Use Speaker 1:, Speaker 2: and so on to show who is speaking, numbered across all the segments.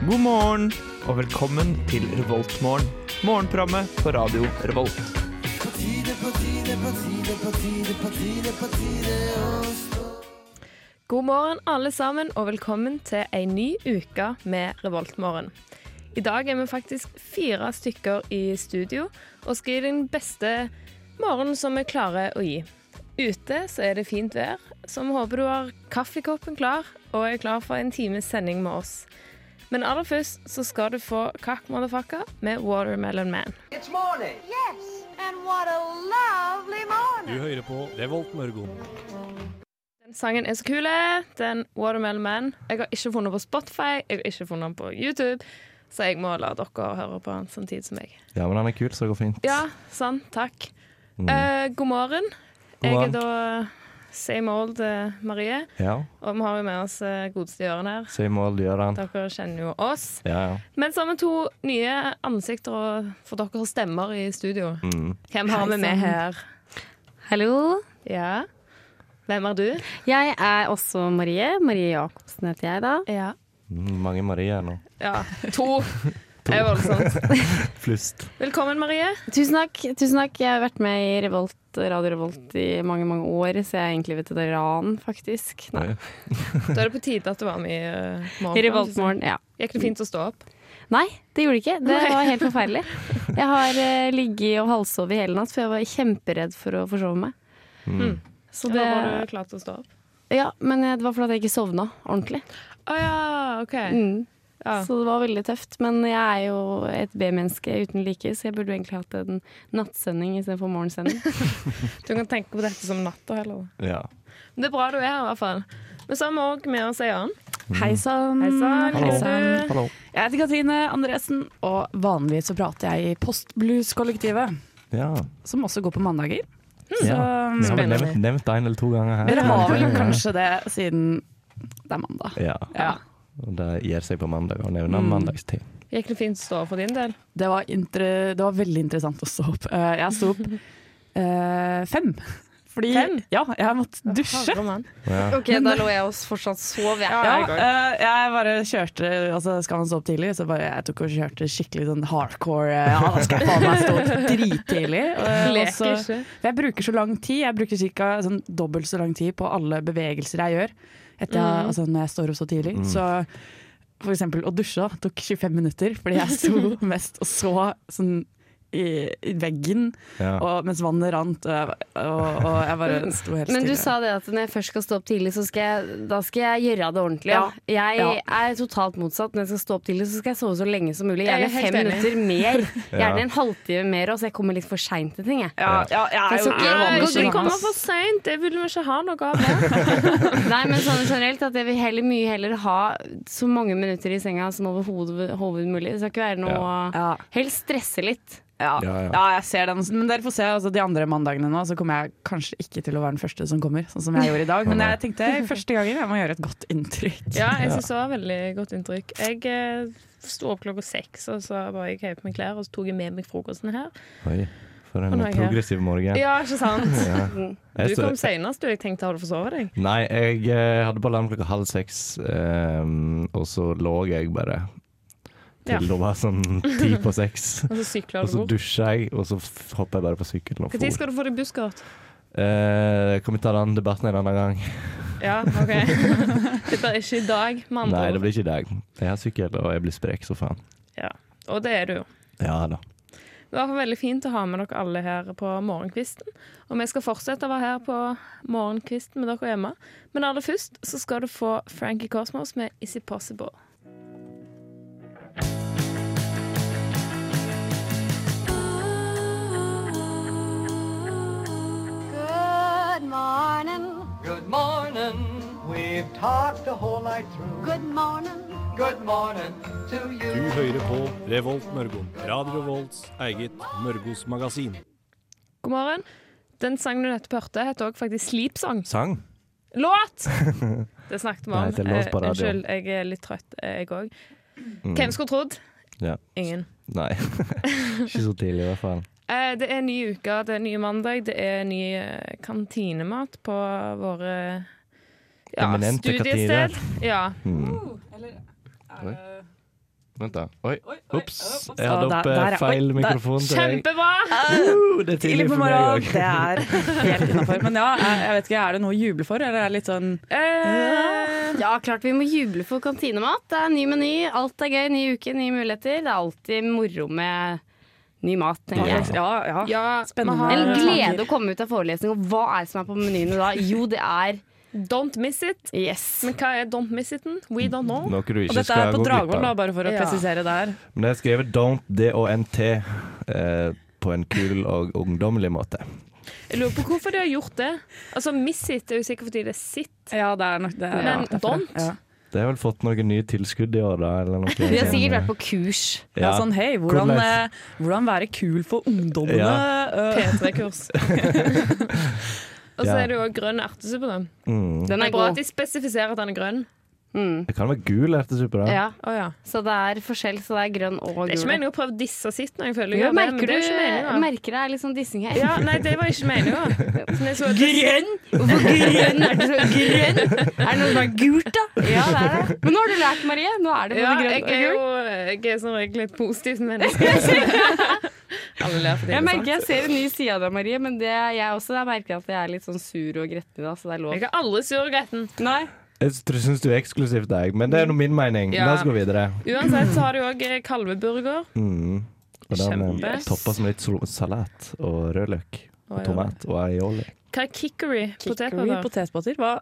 Speaker 1: morgen, og velkommen til Revoltmorgen. Morgenprogrammet på radio Revolt.
Speaker 2: God morgen, alle sammen, og velkommen til ei ny uke med Revoltmorgen. I dag er vi faktisk fire stykker i studio og skal gi den beste morgenen som vi klarer å gi. Ute så er det fint vær, så vi håper du har kaffekoppen klar og er klar for en times sending med oss. Men aller først så skal du få Kakk Motherfucker med Watermelon Man.
Speaker 3: It's morning.
Speaker 4: Yes, and what a lovely morning.
Speaker 5: hører på Revolt Mørgon.
Speaker 2: Den sangen er så kul, den Watermelon Man. Jeg har ikke funnet den på Spotify, jeg har ikke funnet den på YouTube, så jeg må la dere høre på den samtidig som meg.
Speaker 6: Ja, men han er kul, så det går fint.
Speaker 2: Ja, sant. Takk. Eh, god morgen. Jeg er
Speaker 6: morgen.
Speaker 2: da same old eh, Marie,
Speaker 6: Ja,
Speaker 2: og vi har jo med oss eh, godeste Jørgen her.
Speaker 6: Så i mål gjør han.
Speaker 2: Dere kjenner jo oss.
Speaker 6: Ja, ja.
Speaker 2: Men så har vi to nye ansikter og for dere har stemmer i studio.
Speaker 6: Mm.
Speaker 2: Hvem har
Speaker 7: Hei
Speaker 2: vi med
Speaker 7: sann.
Speaker 2: her?
Speaker 7: Hallo.
Speaker 2: Ja. Hvem er du?
Speaker 7: Jeg er også Marie. Marie Jacobsen heter jeg, da.
Speaker 2: Ja.
Speaker 6: Mm, Mange Marie nå.
Speaker 2: ja. To. Det er voldsomt.
Speaker 6: Flust.
Speaker 2: Velkommen, Marie.
Speaker 7: Tusen takk. tusen takk. Jeg har vært med i Revolt, Radio Revolt i mange mange år, så jeg er egentlig veteran, faktisk. Nei.
Speaker 6: Oi.
Speaker 2: Da er det på tide at du var med i eh,
Speaker 7: I
Speaker 2: morgen.
Speaker 7: Revoltmorgen, ja.
Speaker 2: Gikk det fint å stå opp?
Speaker 7: Nei, det gjorde det ikke. Det
Speaker 2: Nei.
Speaker 7: var helt forferdelig. Jeg har eh, ligget og halvsovet i hele natt, for jeg var kjemperedd for å forsove meg.
Speaker 6: Mm.
Speaker 7: Så
Speaker 2: Det...
Speaker 7: det,
Speaker 2: Var du klar til å stå opp?
Speaker 7: ja, men eh, det var fordi jeg ikke sovna ordentlig.
Speaker 2: Å ja, OK.
Speaker 7: Mm.
Speaker 2: Ja.
Speaker 7: Så det var veldig tøft. Men jeg er jo et B-menneske uten like, så jeg burde jo egentlig hatt en nattsending istedenfor morgensending.
Speaker 2: Du kan tenke på dette som natta heller.
Speaker 6: Ja.
Speaker 2: Men det er bra du er her, i hvert fall. Men så har vi òg med oss ei annen.
Speaker 8: Hei sann.
Speaker 2: Mm. Hei sann.
Speaker 6: Hallo.
Speaker 2: Hei sann.
Speaker 6: Hallo.
Speaker 8: Jeg heter Katrine Andresen, og vanligvis så prater jeg i Postblues-kollektivet,
Speaker 6: Ja.
Speaker 8: som også går på mandager.
Speaker 2: mm,
Speaker 6: ja. Vi har vel
Speaker 8: Spennende.
Speaker 6: nevnt, nevnt deg en eller to ganger her.
Speaker 8: Dere har vel
Speaker 6: Ja.
Speaker 8: kanskje det siden det er mandag.
Speaker 6: Ja.
Speaker 8: Ja.
Speaker 6: Og Det gir seg på mandag og nevner
Speaker 8: Mm.
Speaker 6: mandagstid.
Speaker 2: Gikk det fint å stå opp for din del?
Speaker 8: Det var, inter det var veldig interessant å stå opp. Eh, Jeg sto opp eh, fem. Fordi
Speaker 2: Fem?
Speaker 8: Ja, jeg måtte dusje.
Speaker 2: Harre mann.
Speaker 6: Ja.
Speaker 7: Ok, da lå jeg oss fortsatt sov, jeg.
Speaker 8: Ja, eh, jeg bare kjørte Altså Skal man stå opp tidlig, så bare jeg tok og kjørte skikkelig sånn hardcore. eh, Ja, da skal jeg faen meg stå opp drittidlig. Eh, og
Speaker 2: Leker
Speaker 8: så-
Speaker 2: ikke.
Speaker 8: For jeg bruker så lang tid. Jeg bruker ca. Sånn, dobbelt så lang tid på alle bevegelser jeg gjør etter, jeg- altså, når jeg står opp så tidlig. Så for eksempel å dusje da, tok 25 minutter, fordi jeg sto mest og så sånn i, i veggen
Speaker 6: Ja.
Speaker 8: og, mens vannet rant. Og, jeg ba- og, og jeg bare sto helt
Speaker 7: Men du
Speaker 8: stille.
Speaker 7: sa det at når jeg først skal stå opp tidlig, så skal jeg, da skal jeg gjøre det ordentlig. Ja. Jeg
Speaker 8: Ja.
Speaker 7: er totalt motsatt. Når jeg skal stå opp tidlig, så skal jeg sove så lenge som mulig.
Speaker 2: Jeg er
Speaker 7: Gjerne
Speaker 2: helt
Speaker 7: fem
Speaker 2: enig.
Speaker 7: minutter mer.
Speaker 6: Ja.
Speaker 7: Gjerne en halvtime mer, og så jeg kommer litt for seint til ting. Jeg.
Speaker 8: ja, ja, jeg er jo
Speaker 7: Jeg så
Speaker 8: jeg er
Speaker 7: ikke-
Speaker 8: vanlig
Speaker 2: Nei,
Speaker 7: vanlig
Speaker 2: du
Speaker 7: skjønt,
Speaker 2: kommer
Speaker 7: ass.
Speaker 2: for seint. Det vil vi ikke ha noe av. her.
Speaker 7: Nei, men sånn generelt at jeg vil heller, mye heller ha så mange minutter i senga som overhodet hovedet mulig. Det skal ikke være noe
Speaker 8: Ja.
Speaker 7: Helst stresse litt.
Speaker 8: Ja.
Speaker 6: Ja, ja.
Speaker 8: ja, jeg ser den. Men dere får se altså, de andre mandagene nå, så kommer jeg kanskje ikke til å være den første som kommer, sånn som jeg gjorde i dag. Men jeg tenkte første gangen jeg må gjøre et godt inntrykk.
Speaker 2: Ja, jeg syns det var veldig godt inntrykk. Jeg eh, sto opp klokka seks, og så var jeg høy på meg klær, og så tok jeg med meg frokosten her.
Speaker 6: Oi, for en
Speaker 2: nå er jeg her.
Speaker 6: progressiv morgen.
Speaker 2: Ja, ikke sant?
Speaker 6: Ja.
Speaker 2: Du
Speaker 6: Jeg
Speaker 2: kom
Speaker 6: sto-
Speaker 2: seinest, du. Jeg tenkte har du forsovet deg?
Speaker 6: Nei, jeg eh, hadde på alarm klokka halv seks, eh, og så lå jeg bare til
Speaker 2: Ja.
Speaker 6: det var sånn ti på seks.
Speaker 2: Og så sykla
Speaker 6: Og
Speaker 2: du
Speaker 6: så
Speaker 2: bort.
Speaker 6: dusja jeg, og så f- hoppa jeg bare på sykkelen og for.
Speaker 2: Når skal du få deg busskort?
Speaker 6: Eh, kan vi ta den debatten en annen gang?
Speaker 2: Ja, OK. Dette er ikke i dag, med andre
Speaker 6: Nei, det
Speaker 2: ord.
Speaker 6: blir ikke i dag. Jeg har sykkel, og jeg blir sprek så faen.
Speaker 2: Ja. Og det er du jo.
Speaker 6: Ja da.
Speaker 2: Det var veldig fint å ha med dere alle her på morgenkvisten. Og vi skal fortsette å være her på morgenkvisten med dere hjemme. Men aller først så skal du få Frankie Cosmos med Is It Possible.
Speaker 4: Good morning.
Speaker 3: Good morning. We've talked the whole night through.
Speaker 4: Good morning.
Speaker 3: Good morning to
Speaker 5: Du
Speaker 3: you.
Speaker 5: hører på Revolt Mørgon. Radio Revolts eget Mørgos magasin.
Speaker 2: God morgen. Den sangen du nettopp hørte, heter også faktisk Sleep Song.
Speaker 6: Sang?
Speaker 2: Låt! Det snakket vi om.
Speaker 6: Det heter låt på
Speaker 2: Eh,
Speaker 6: radio. Mm.
Speaker 2: Unnskyld, jeg er litt trøtt, eh, jeg òg. Hvem skulle trodd?
Speaker 6: Ja.
Speaker 2: Ingen.
Speaker 6: Nei. ikke så tidlig, i hvert fall.
Speaker 2: Eh, Det er ny uke, det er ny mandag, det er ny eh, kantinemat på våre ja,
Speaker 6: Eminente
Speaker 2: studiested.
Speaker 6: kantiner.
Speaker 2: Ja.
Speaker 6: Mm. Hmm. Oi. Vent, da. Oi. Ops. Jeg
Speaker 8: Ja,
Speaker 6: hadde
Speaker 8: der-
Speaker 6: opp
Speaker 8: der
Speaker 6: eh,
Speaker 8: er-
Speaker 6: feil
Speaker 8: oi, der.
Speaker 6: mikrofon til deg.
Speaker 2: Kjempebra!
Speaker 6: Uh, det er tidlig
Speaker 8: Tidlig på
Speaker 6: for meg
Speaker 8: morgenen,
Speaker 6: òg.
Speaker 8: det er helt innafor. Men ja, jeg, jeg vet ikke, er det noe å juble for, eller er det litt sånn
Speaker 2: Eh,
Speaker 7: Ja, klart vi må juble for kantinemat. Det er ny meny, alt er gøy, ny uke, nye muligheter. Det er alltid moro med ny mat, tenker
Speaker 6: Ja.
Speaker 7: jeg.
Speaker 8: Ja, ja.
Speaker 2: ja, vi
Speaker 8: Spennende.
Speaker 2: har-
Speaker 7: En glede å komme ut av forelesning, og hva er det som er på menyen da? Jo, det er
Speaker 2: Don't miss it.
Speaker 7: Yes.
Speaker 2: Men hva er don't miss it-en? We don't know.
Speaker 6: Noe du
Speaker 8: Og
Speaker 6: ikke
Speaker 8: dette er
Speaker 6: skal
Speaker 8: på
Speaker 6: gå glipp
Speaker 8: Dragvoll, da,
Speaker 6: av.
Speaker 8: bare for å
Speaker 2: Ja.
Speaker 8: presisere der.
Speaker 6: Men jeg har skrevet don't, D-O-N-T, eh, på en kul og ungdommelig måte.
Speaker 2: Jeg lurer på hvorfor de har gjort det. Altså, miss it er jo sikkert fordi det er sitt.
Speaker 8: Ja, det er nok det. er-
Speaker 2: Men
Speaker 8: ja, derfor det.
Speaker 2: don't?
Speaker 8: Ja.
Speaker 6: Det har vel fått noen nye tilskudd i år, da? Eller noe
Speaker 7: Vi har sikkert vært på kurs.
Speaker 8: Ja. sånn hei, hvordan, eh, hvordan være kul for ungdommene?
Speaker 6: Ja.
Speaker 8: eh,
Speaker 2: P3-kurs. Og så
Speaker 6: Ja.
Speaker 2: er det jo grønn ertesuppe. da.
Speaker 6: mm.
Speaker 7: Den
Speaker 2: Det
Speaker 7: er
Speaker 2: er bra at
Speaker 7: god.
Speaker 2: de spesifiserer at den er grønn.
Speaker 7: Mm.
Speaker 6: Det kan være gul ertesuppe, da.
Speaker 7: Ja,
Speaker 2: Å ja.
Speaker 7: så det er forskjell, så det er grønn og gul.
Speaker 2: Det er ikke meningen å prøve å disse sitt når jeg føler jeg
Speaker 7: Jo,
Speaker 2: gjør det, men
Speaker 7: merker,
Speaker 2: det
Speaker 7: du,
Speaker 2: er jo ikke meningen.
Speaker 7: merker det er litt sånn dissing her.
Speaker 2: Ja, nei, det var ikke meninga. Men jeg så at det-
Speaker 7: Grønn! Hvorfor grønn? Er det så grønn? Er det noe som er gult, da? Ja, det er det. Men nå har du lært, Marie. Nå er det både
Speaker 2: Ja, jeg
Speaker 7: grønt
Speaker 2: er
Speaker 7: og gult.
Speaker 2: jo eh, jeg er som regel et positivt menneske. Alle ler fordi det er
Speaker 7: Jeg
Speaker 2: sant.
Speaker 7: merker jeg ser en ny side av deg, Marie, men det er jeg også. Jeg merker at jeg er litt sånn sur og gretten i dag, så det er lov.
Speaker 2: Jeg er aldri sur, Gretten.
Speaker 7: Nei.
Speaker 6: Jeg tror- syns du er eksklusiv, deg, men det er nå min mening.
Speaker 2: Ja.
Speaker 6: La oss gå videre.
Speaker 2: Uansett så har du òg kalveburger.
Speaker 6: Mm. Og den
Speaker 2: Kjempe.
Speaker 6: eh, toppes med litt sol- salat og rødløk og tomat og aioli.
Speaker 2: Hva er kickery?
Speaker 8: Kikkery,
Speaker 2: Potetboller?
Speaker 8: potetbåter. Hva?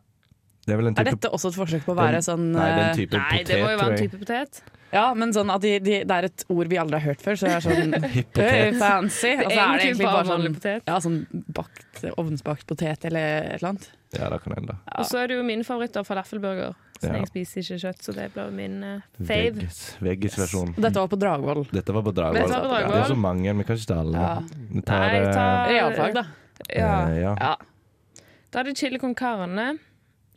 Speaker 6: Det er vel en
Speaker 8: Er
Speaker 6: type
Speaker 8: dette også et forsøk på å være sånn
Speaker 6: Nei,
Speaker 8: eh,
Speaker 6: den type
Speaker 2: Nei,
Speaker 6: potet,
Speaker 2: det må jo være
Speaker 6: tror
Speaker 2: en
Speaker 6: jeg.
Speaker 2: type potet.
Speaker 8: Ja, men sånn at de, de, det er et ord vi aldri har hørt før, så det er sånn
Speaker 6: Hipp
Speaker 8: «Øy,
Speaker 6: potet.
Speaker 8: fancy.
Speaker 2: Altså,
Speaker 8: Og så er det egentlig bare sånn
Speaker 2: vanlig potet.
Speaker 8: ja, sånn bakt, ovnsbakt potet eller et eller annet.
Speaker 6: Ja, det kan hende.
Speaker 2: Og så er det jo min favoritt, da, falafelburger. Så
Speaker 6: Ja.
Speaker 2: jeg spiser ikke kjøtt, så det blir min eh, fave.
Speaker 6: Veggis- Veggisversjon.
Speaker 8: Og dette var på Dragvoll.
Speaker 6: Dette var på Dragvoll.
Speaker 2: Dette var på Dragvoll.
Speaker 6: Det er så mange, vi kan ikke ta alle.
Speaker 8: Ja.
Speaker 6: Vi tar,
Speaker 2: Nei,
Speaker 6: eh,
Speaker 2: ta-
Speaker 8: Realfag, da.
Speaker 2: Ja.
Speaker 6: eh, ja.
Speaker 8: Ja.
Speaker 2: Da er det chili con carne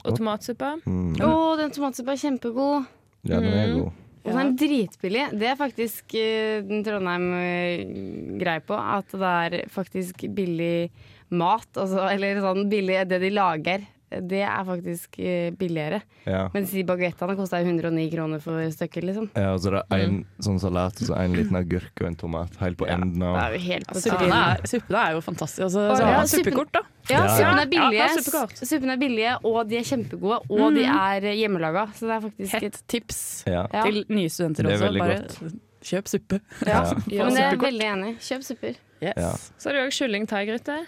Speaker 2: og tomatsuppe.
Speaker 6: Mm.
Speaker 7: Å, den tomatsuppa er kjempegod.
Speaker 6: ja, den
Speaker 2: Mm.
Speaker 6: er god.
Speaker 7: Og den er dritbillig. Det er faktisk eh, den Trondheim eh, grei på, at det er faktisk billig mat, altså, eller sånn billig det de lager. Det er faktisk eh, billigere.
Speaker 6: Ja.
Speaker 7: Mens de baguettene kosta 109 kroner for stykket, liksom.
Speaker 6: Ja, og så er det
Speaker 2: Mm.
Speaker 6: en sånn salat og så en liten agurk og en tomat helt på enden
Speaker 7: Det
Speaker 6: av
Speaker 7: er jo helt på
Speaker 8: Suppene er, suppene er jo fantastiske. Og så så
Speaker 7: ja,
Speaker 8: har man
Speaker 7: suppen-
Speaker 8: suppekort, da.
Speaker 7: Ja, Mm.
Speaker 6: Ja.
Speaker 7: suppen er
Speaker 2: Ja,
Speaker 7: billige.
Speaker 2: ja, suppekort.
Speaker 7: Suppen er billige, og de er kjempegode, og de er hjemmelaga. Så det er faktisk
Speaker 8: Hett tips
Speaker 6: ja.
Speaker 7: Ja.
Speaker 8: til nye studenter
Speaker 6: Det er
Speaker 8: også.
Speaker 6: veldig
Speaker 8: Bare
Speaker 6: godt.
Speaker 8: kjøp suppe.
Speaker 6: Ja.
Speaker 2: Ja,
Speaker 7: Men det er
Speaker 8: suppekort.
Speaker 7: veldig enig. Kjøp supper.
Speaker 8: Yes.
Speaker 6: Ja.
Speaker 2: Så er det òg kylling thai-gryte.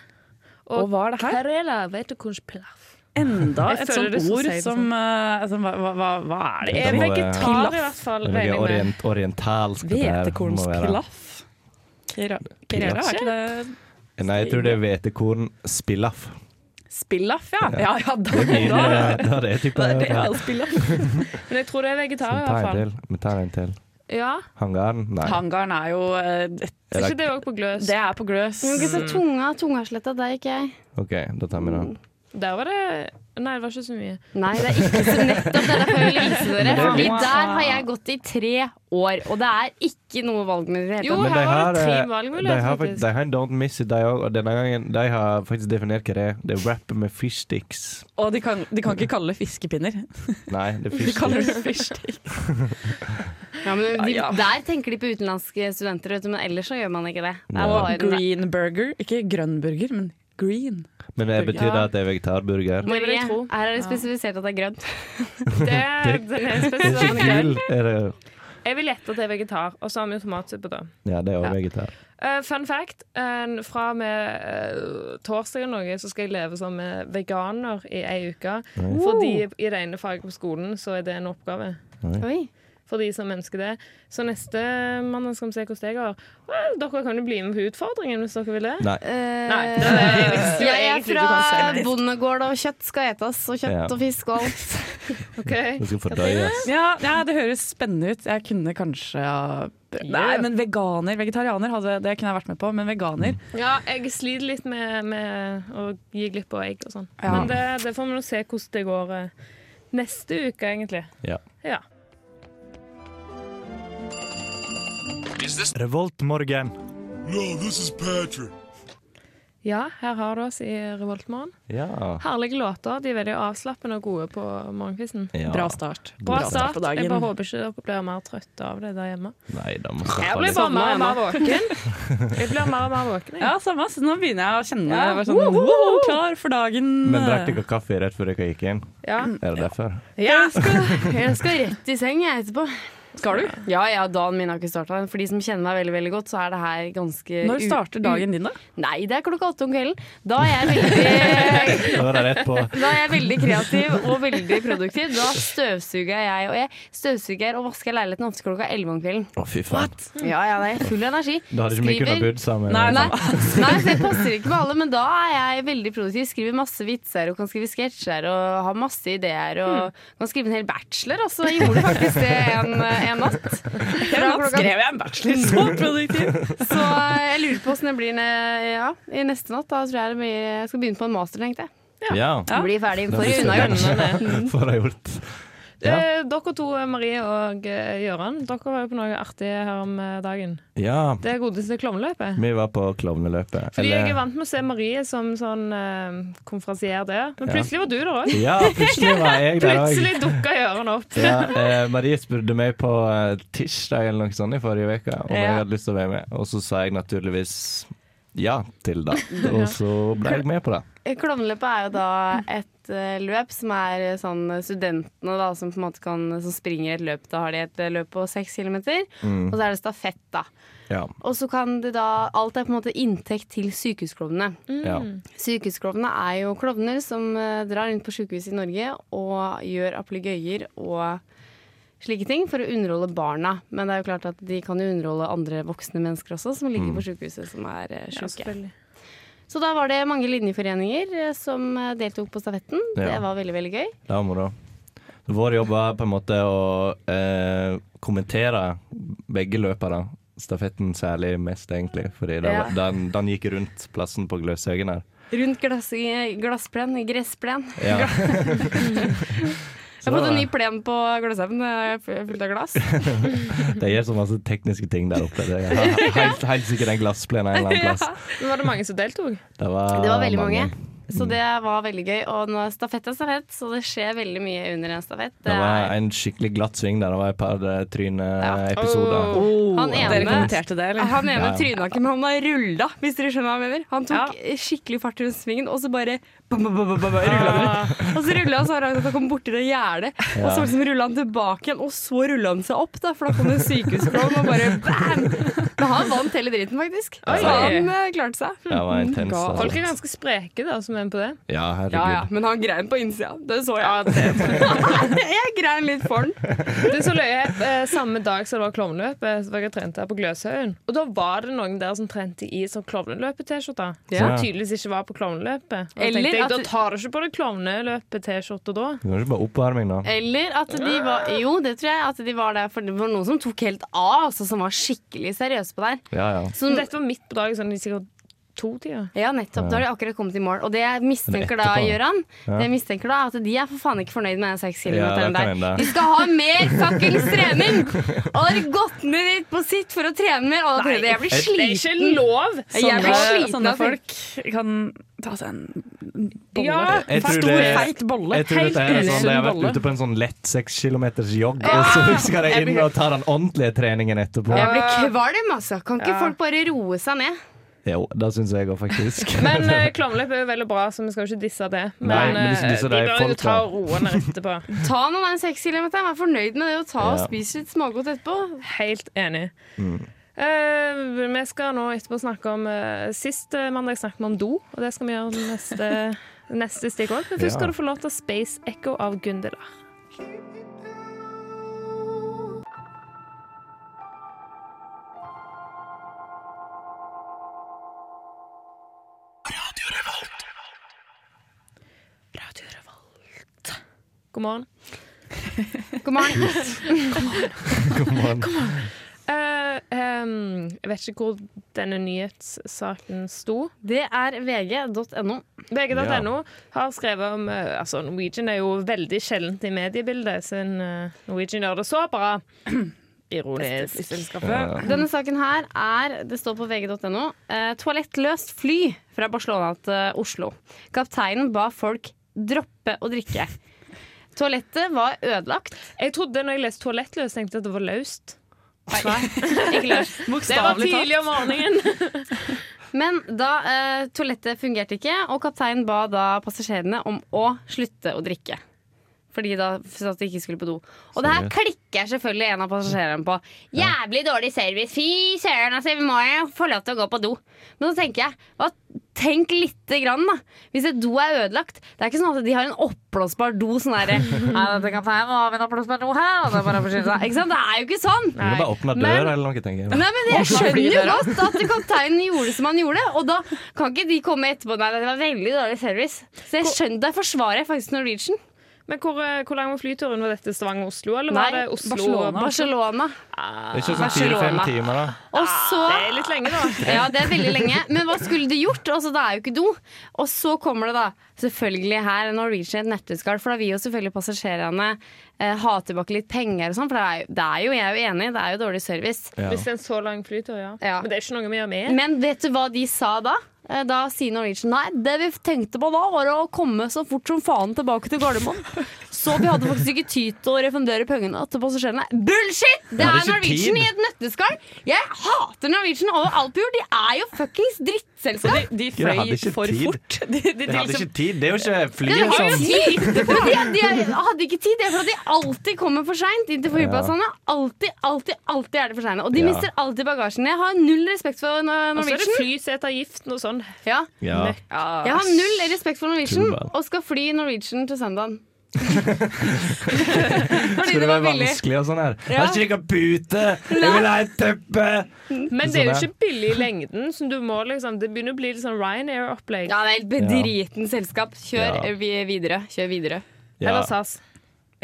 Speaker 8: Og hva er det her?
Speaker 2: Carela, vet du hvordan pilaf
Speaker 8: Enda
Speaker 2: Jeg
Speaker 8: et
Speaker 2: føler
Speaker 8: sånt
Speaker 2: det som
Speaker 8: ord
Speaker 2: sier det
Speaker 8: som, eh, som hva, hva, hva- hva er det?
Speaker 6: Det
Speaker 2: Jeg er
Speaker 6: må være-
Speaker 2: vegetar i hvert fall,
Speaker 6: Det er
Speaker 2: regner
Speaker 6: noe
Speaker 2: jeg med.
Speaker 6: orient, orientalsk. dette her må være.
Speaker 8: Hvetekornspilaff? Kira- Kirela, er ikke det
Speaker 6: Nei, jeg tror det er hvetekornspillaff.
Speaker 8: Spillaff, ja? Ja, ja, da,
Speaker 6: Det er
Speaker 8: da.
Speaker 6: mye- det er type
Speaker 8: Da er det
Speaker 6: ja.
Speaker 8: all spillaff.
Speaker 2: Men jeg tror det er vegetar i
Speaker 6: Vi
Speaker 2: hvert
Speaker 6: tar en
Speaker 2: fall.
Speaker 6: til. Vi tar en til.
Speaker 2: Ja,
Speaker 6: Hangaren? Nei.
Speaker 8: Hangaren er jo eh, et-
Speaker 2: Er ikke det òg på gløs?
Speaker 8: Det er på gløs.
Speaker 7: Men ikke så tunga, tungasletta, der gikk jeg.
Speaker 6: OK, da tar vi den.
Speaker 2: Der var det Nei, det var ikke så mye.
Speaker 7: Nei, det er ikke så nettopp. Det er derfor jeg vil vise dere.
Speaker 6: Det er
Speaker 7: Fordi
Speaker 6: litt-
Speaker 7: der har jeg gått i tre år, og det er ikke noe valgmulighet.
Speaker 2: Jo,
Speaker 6: Men de
Speaker 2: her var
Speaker 6: har,
Speaker 2: det tre
Speaker 6: eh, de
Speaker 2: valgmuligheter,
Speaker 6: har, fakt-
Speaker 2: faktisk.
Speaker 6: de har en Don't Miss It, de òg. Og denne gangen de har faktisk definert hva det er. Det er wrap med fish sticks.
Speaker 8: Og de kan, de kan ikke kalle det fiskepinner.
Speaker 6: Nei, det er
Speaker 8: De
Speaker 6: fish
Speaker 8: kaller
Speaker 6: sticks.
Speaker 8: det fishstick.
Speaker 7: Ja, men de,
Speaker 8: Ja, ja.
Speaker 7: Der tenker de på utenlandske studenter, vet du, men ellers så gjør man ikke det. Det er
Speaker 6: Nei.
Speaker 7: bare den der.
Speaker 8: Green burger. Ikke grønn burger, men green.
Speaker 6: Men det betyr det at det er vegetarburger?
Speaker 2: Det vil
Speaker 7: Marie,
Speaker 2: jeg tro.
Speaker 7: her er det spesifisert at det er grønt.
Speaker 2: Det er, den er
Speaker 6: Det er
Speaker 2: spesielt
Speaker 6: ikke
Speaker 2: grønn.
Speaker 6: gul. Er det?
Speaker 2: Jeg vil gjette at det er vegetar. Og så har vi jo tomatsuppe, da.
Speaker 6: Ja, det er
Speaker 2: Ja.
Speaker 6: òg vegetar.
Speaker 2: Eh, fun fact. eh, fra og med eh, torsdag eller noe så skal jeg leve som eh, veganer i ei uke. Fordi i det ene faget på skolen så er det en oppgave.
Speaker 7: Oi.
Speaker 2: For de som ønsker det. Så neste mandag skal vi se hvordan jeg går. Eh, Dere kan jo bli med på utfordringen hvis dere vil det.
Speaker 6: Nei.
Speaker 2: Nei,
Speaker 7: Eh,
Speaker 2: det er egentlig- det er
Speaker 7: jeg er
Speaker 2: egentlig du kan
Speaker 7: fra
Speaker 2: si nei.
Speaker 7: bondegård, og kjøtt skal etes. Og kjøtt
Speaker 6: Ja.
Speaker 7: og fisk og alt.
Speaker 2: Ok.
Speaker 6: Det skal fordøyes.
Speaker 8: Ja, ja, det høres spennende ut. Jeg kunne kanskje ha Nei, men veganer, vegetarianer, hadde, det kunne jeg vært med på. Men veganer
Speaker 2: Ja, jeg sliter litt med, med å gi glipp av egg og sånn.
Speaker 8: Ja.
Speaker 2: Men det, det får vi nå se hvordan det går eh, neste uke, egentlig.
Speaker 6: Ja.
Speaker 2: Ja.
Speaker 5: Revoltmorgen.
Speaker 2: Ja, her har du oss i Revoltmorgen.
Speaker 6: Ja.
Speaker 2: Herlige låter. De er veldig avslappende og gode på morgenkvisten.
Speaker 6: ja.
Speaker 8: Bra start.
Speaker 2: Bra
Speaker 6: God
Speaker 2: start. Jeg bare håper ikke dere blir mer trøtte av det der hjemme.
Speaker 6: Nei, da må
Speaker 2: Jeg
Speaker 6: slappe
Speaker 2: blir
Speaker 6: litt.
Speaker 2: bare mer og
Speaker 7: Sovna
Speaker 2: mer våken. Jeg blir mer og mer våken. Jeg.
Speaker 8: Ja, samme. Så nå begynner jeg å kjenne
Speaker 7: Ja.
Speaker 8: jeg var sånn, «Wow, Klar for dagen.
Speaker 6: Men drakk dere kaffe rett før dere gikk inn?
Speaker 2: Ja.
Speaker 6: Er det derfor?
Speaker 7: Jeg skal, jeg skal rett i seng jeg etterpå. Skal du? Ja, ja, dagen min har ikke starta. For de som kjenner meg veldig veldig godt, så er det her ganske
Speaker 8: Når
Speaker 7: u-
Speaker 8: starter dagen din, da?
Speaker 7: Nei, det er klokka åtte om kvelden. Da er jeg veldig
Speaker 6: Da var det rett på
Speaker 7: Da er jeg veldig kreativ og veldig produktiv. Da støvsuger jeg, og jeg støvsuger og vasker leiligheten ofte klokka 11 om kvelden.
Speaker 6: Å, fy faen.
Speaker 7: Ja, ja, da er jeg full av energi.
Speaker 6: Da hadde ikke vi kunnet
Speaker 7: Skriver.
Speaker 6: bodd sammen.
Speaker 7: Nei, nei, nei, så det passer ikke med alle, men da er jeg veldig produktiv. Skriver masse vitser og kan skrive sketsjer og har masse ideer. Og
Speaker 6: Hmm.
Speaker 7: kan skrive en hel bachelor, altså. Jeg gjorde faktisk det en, en natt. Fra klokka-
Speaker 8: jeg en bachelor. Så produktiv!
Speaker 7: Så eh, jeg lurer på åssen det blir ne- ja, i neste natt. Da tror jeg det blir, jeg skal begynne på en master, tenkte jeg.
Speaker 6: Ja.
Speaker 7: Bli ferdig.
Speaker 6: Altså. Da
Speaker 7: Får
Speaker 6: blir
Speaker 7: unna
Speaker 6: det
Speaker 7: hjørnene.
Speaker 6: Får jeg gjort. Ja.
Speaker 2: Eh, Dere to, Marie og eh, Gøran, dere var jo på noe artig her om eh, dagen.
Speaker 6: Ja,
Speaker 2: Det godeste klovneløpet.
Speaker 6: vi var på klovneløpet.
Speaker 2: Fordi
Speaker 6: Eller-
Speaker 2: jeg er vant med å se Marie som sånn eh, konferansier der, men
Speaker 6: Ja.
Speaker 2: plutselig var du der òg.
Speaker 6: Ja, plutselig var jeg der òg.
Speaker 2: Plutselig dukka Gøran opp.
Speaker 6: Ja, eh, Marie spurte meg på eh, tirsdag eller noe sånt i forrige uke om jeg hadde lyst til å være med, og så sa jeg naturligvis ja til det. Og så ble jeg med på det.
Speaker 7: Eh, Klovneløpet er jo da et eh, løp som er eh, sånn eh, studentene da, som på en måte kan, som springer et løp. Da har de et eh, løp på seks kilometer,
Speaker 6: Mm.
Speaker 7: og så er det stafett, da.
Speaker 6: Ja.
Speaker 7: Og så kan det da Alt er på en måte inntekt til sykehusklovnene.
Speaker 6: ja.
Speaker 7: Mm. Sykehusklovnene er jo klovner som eh, drar rundt på sykehus i Norge og gjør appligøyer og slike ting for å underholde barna. Men det er jo klart at de kan jo underholde andre voksne mennesker også, som ligger
Speaker 6: Mm.
Speaker 7: på sykehuset som er eh, syke. Så da var det mange linjeforeninger eh, som eh, deltok på stafetten.
Speaker 6: Ja.
Speaker 7: Det var veldig, veldig gøy.
Speaker 6: Det var moro. Vår jobb var på en måte å eh, kommentere begge løpere. Stafetten særlig mest, egentlig, fordi det, var- den, den gikk rundt plassen på Gløshaugen her.
Speaker 7: Rundt glass, glassplen, gressplen.
Speaker 6: Ja.
Speaker 7: Jeg
Speaker 6: Så
Speaker 7: har fått en ny
Speaker 6: det,
Speaker 7: plen på Gløshaugen, eh, f- fullt av glass.
Speaker 6: det gjør så masse tekniske ting der oppe. Det er helt, helt sikkert en glassplen en eller annen plass.
Speaker 2: Men var det mange som deltok?
Speaker 6: Det var,
Speaker 7: Det var veldig mange.
Speaker 6: Mm.
Speaker 7: Så det var veldig gøy. Og nå er stafett er stafett, så det skjer veldig mye under en stafett.
Speaker 6: Det
Speaker 7: Det
Speaker 6: var
Speaker 7: er,
Speaker 6: en skikkelig glatt sving der. Det var et par eh, tryneepisoder.
Speaker 7: Han ene-
Speaker 8: Oh. Dere kommenterte det, eller?
Speaker 7: han ene
Speaker 6: Ja.
Speaker 7: tryna ikke, men han var rulla, hvis dere skjønner hva jeg mener. Han tok skikkelig fart rundt svingen, og så bare bam, bam, bam, bam, bam, rulla han rundt. Og så rulla han så hardt at han kom borti det gjerdet, og så liksom rulla han tilbake igjen, og så rulla han seg opp, da, for da kom det en sykehusklovn og bare bam! Men han vant hele dritten, faktisk. Så han eh, klarte seg.
Speaker 6: Det var intenst. altså.
Speaker 2: Folk er ganske spreke, da, som er med på det.
Speaker 6: Ja,
Speaker 7: Ja, ja,
Speaker 6: herregud.
Speaker 7: men han grein på innsida. Det så jeg. jeg grein litt for den.
Speaker 2: Det er så løye. Eh, Samme dag som det var klovneløpet, så var jeg og trente her på Gløshaugen. Og da var det noen der som trente i sånn klovneløpet-T-skjorte. Som
Speaker 6: Ja.
Speaker 2: tydeligvis ikke var på klovneløpet. Og da
Speaker 7: Eller
Speaker 2: tenkte jeg,
Speaker 7: at-
Speaker 2: da tar du ikke på deg klovneløpet-T-skjorte da.
Speaker 6: Du kan ikke bare oppvarming, da.
Speaker 7: Eller at de var Jo, det tror jeg. At de var der, for det var noen som tok helt av, altså, som var skikkelig seriøse på det her.
Speaker 6: Ja, ja.
Speaker 7: Som-
Speaker 2: Dette var midt på dagen, sånn i sikkert to-tida.
Speaker 7: Ja, nettopp. Da har de akkurat kommet i mål. Og det jeg mistenker da,
Speaker 6: etterpå.
Speaker 7: Gøran,
Speaker 6: Ja.
Speaker 7: det jeg mistenker da, er at de er for faen ikke fornøyd med den seks
Speaker 6: Ja,
Speaker 7: kilometeren
Speaker 6: det kan
Speaker 7: der.
Speaker 6: hende.
Speaker 7: De skal ha mer fuckings trening! Og har gått ned dit på sitt for å trene mer. Og da tenkte jeg, jeg blir
Speaker 2: Det er ikke
Speaker 7: sliten.
Speaker 2: lov!
Speaker 7: Jeg blir
Speaker 8: Sånne,
Speaker 7: sliten
Speaker 8: sånne
Speaker 7: av ting.
Speaker 8: folk kan ta seg en bolle.
Speaker 2: Ja,
Speaker 6: Jeg tror
Speaker 8: Stor,
Speaker 6: det-
Speaker 8: feit bolle.
Speaker 6: Jeg tror dette er
Speaker 8: usunn
Speaker 6: sånn, De har
Speaker 8: bolle.
Speaker 6: vært ute på en sånn lett seks kilometers jogg, og så skal de inn og ta den ordentlige treningen etterpå.
Speaker 7: Jeg blir kvalm, altså. Kan ikke folk bare roe seg ned?
Speaker 6: Jo, det syns jeg òg, faktisk.
Speaker 2: Men eh, klovneløp er jo veldig bra, så vi skal jo ikke disse det. Men,
Speaker 6: Nei, men de skal
Speaker 2: eh,
Speaker 6: disse
Speaker 2: de
Speaker 6: de
Speaker 2: bør jo
Speaker 6: folka.
Speaker 2: ta roen etterpå.
Speaker 7: Ta nå den seks kilometeren. Vær fornøyd med det, og ta og
Speaker 6: Ja.
Speaker 7: spis litt smågodt etterpå.
Speaker 2: Helt enig. Eh, vi skal nå etterpå snakke om eh, Sist eh, mandag snakket vi om do, og det skal vi gjøre neste, neste stikk òg. Men først
Speaker 6: Ja.
Speaker 2: skal du få låta 'Space Echo' av Gundelar. Radio Revolt. God morgen.
Speaker 7: God morgen.
Speaker 6: God morgen.
Speaker 2: Eh, ehm, jeg vet ikke hvor denne nyhetssaken sto.
Speaker 7: Det er vg.no.
Speaker 2: VG.no har skrevet om eh, altså Norwegian er jo veldig sjeldent i mediebildet, siden eh, Norwegian gjør det så bra. Ironisk.
Speaker 8: Flyselskapet.
Speaker 7: Denne saken her er, det står på vg.no, eh, toalettløst fly fra Barcelona til Oslo. Kapteinen ba folk droppe å drikke. Toalettet var ødelagt.
Speaker 2: Jeg trodde når jeg leste 'toalettløs', tenkte jeg at det var løst.
Speaker 7: Nei, ikke løst.
Speaker 2: Det var
Speaker 8: Bokstavelig talt.
Speaker 2: tidlig om morgenen.
Speaker 7: Men da eh, toalettet fungerte ikke, og kapteinen ba da passasjerene om å slutte å drikke. Fordi da så at de ikke skulle på do. Og det her
Speaker 6: Seriøst?
Speaker 7: klikker selvfølgelig en av passasjerene på. Jævlig dårlig service. Fy søren, altså, vi må jo få lov til å gå på do. Men så tenker jeg, hva, tenk lite grann, da. Hvis et do er ødelagt. Det er ikke sånn at de har en oppblåsbar do sånn derre Nei, dette kapteinen, nå har vi en oppblåsbar do her, og det er bare å forsyne seg. Ikke sant? Det er jo ikke sånn.
Speaker 6: Du kan bare åpne
Speaker 7: Men-
Speaker 6: døra eller noe, tenker jeg.
Speaker 7: Nei, men Jeg skjønner jo
Speaker 8: flydøra.
Speaker 7: godt at kapteinen gjorde som han gjorde. Og da kan ikke de komme etterpå. Nei, det var veldig dårlig service. Så jeg skjønner der forsvarer jeg faktisk Norwegian.
Speaker 2: Men hvor, eh, hvor lang var flyturen? Var dette Stavanger-Oslo, eller
Speaker 7: Nei,
Speaker 2: var det Oslo?
Speaker 8: Barcelona.
Speaker 7: Barcelona.
Speaker 6: Det er ikke sånn fire-fem
Speaker 7: Barcelona.
Speaker 6: timer, da.
Speaker 7: Og så
Speaker 2: Ah, Det er litt lenge, da.
Speaker 7: Ja, det er veldig lenge. Men hva skulle du gjort? Altså, det er jo ikke do. Og så kommer det, da. Selvfølgelig her Norwegian et nøtteskall, for da vil jo selvfølgelig passasjerene eh, ha tilbake litt penger og sånn. For det er, jo, det er jo, jeg er jo enig, det er jo dårlig service.
Speaker 6: Ja.
Speaker 2: Hvis det er en så lang flytur, ja.
Speaker 7: Ja.
Speaker 2: Men det er ikke noe vi gjør med.
Speaker 7: Men vet du hva de sa da? Eh, Da sier Norwegian nei, det vi tenkte på da var å komme så fort som faen tilbake til Gardermoen. Så vi hadde faktisk ikke tid til å refundere pengene til passasjerene. Bullshit! Det
Speaker 6: Ja, det
Speaker 7: er
Speaker 6: er ikke
Speaker 7: Norwegian
Speaker 6: tid.
Speaker 7: i et nøtteskall! Jeg hater Norwegian over all pur. De er jo fuckings drittselskap.
Speaker 8: De
Speaker 6: Jeg hadde ikke
Speaker 8: fløy for
Speaker 6: tid.
Speaker 8: fort. De, de, de,
Speaker 6: De hadde
Speaker 8: liksom,
Speaker 6: ikke tid. sånn. Det er jo ikke
Speaker 7: De
Speaker 6: flyet
Speaker 7: har jo
Speaker 6: som
Speaker 7: tid! Men de, de hadde ikke tid. Det er fordi de alltid kommer for seint inn til flyplassene. Alltid, alltid, alltid er de for seine. Og de
Speaker 6: Ja.
Speaker 7: mister alltid bagasjen. Jeg har null respekt for Nor-
Speaker 2: Og så er det
Speaker 7: Norwegian.
Speaker 2: flyseteavgiften og sånn.
Speaker 7: Ja.
Speaker 6: Ja.
Speaker 7: Jeg har null respekt for Norwegian
Speaker 6: Tullball.
Speaker 7: og skal fly Norwegian til søndagen. Fordi
Speaker 6: Skal
Speaker 7: det
Speaker 6: det
Speaker 7: var
Speaker 6: være
Speaker 7: billig.
Speaker 6: vanskelig og sånn her? Jeg har ikke noe pute! Jeg vil ha et teppe!
Speaker 2: Men det er jo
Speaker 6: Sånn er.
Speaker 2: ikke billig i lengden, så du må liksom Det begynner å bli litt sånn Ryanair-opplegg.
Speaker 7: Ja, det er helt bedriten selskap. Kjør
Speaker 6: Ja.
Speaker 7: vi- videre. Kjør videre.
Speaker 6: Ja.
Speaker 2: Eller SAS.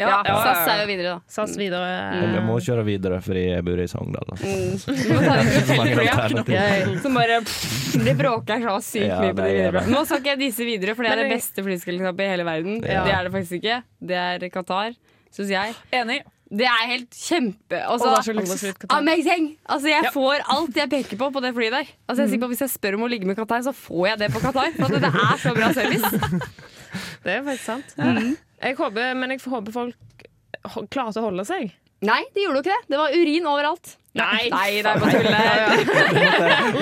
Speaker 7: Ja, SAS er jo videre, da.
Speaker 2: SAS videre.
Speaker 7: Mm.
Speaker 6: Men jeg må kjøre videre fordi jeg bor i Sogndal. da.
Speaker 7: Du må ta det
Speaker 6: Så mange
Speaker 7: fly, ja.
Speaker 6: alternativer.
Speaker 7: Som bare pff, Det bråker så sykt
Speaker 6: Ja,
Speaker 7: mye på
Speaker 6: det
Speaker 7: de
Speaker 6: gjør
Speaker 7: videre.
Speaker 6: det.
Speaker 7: Nå skal ikke jeg disse videre, for det er
Speaker 2: Men
Speaker 7: det
Speaker 2: jeg-
Speaker 7: beste flyselskapet i hele verden.
Speaker 6: Ja.
Speaker 7: Det er det faktisk ikke. Det er Qatar, syns jeg.
Speaker 8: Enig.
Speaker 7: Det er helt kjempe altså,
Speaker 8: Og det er så luksus.
Speaker 7: Amazing! Altså, jeg får alt jeg peker på på det flyet der. Altså, jeg er sikker på at Hvis jeg spør om å ligge med Qatar, så får jeg det på Qatar. For at det er så bra service.
Speaker 2: Det er faktisk sant. Mm. Jeg håper, men jeg håper folk ho- klarer å holde seg.
Speaker 7: Nei, det gjorde jo ikke det. Det var urin overalt.
Speaker 2: Nei.
Speaker 7: Nei det er bare tull. Det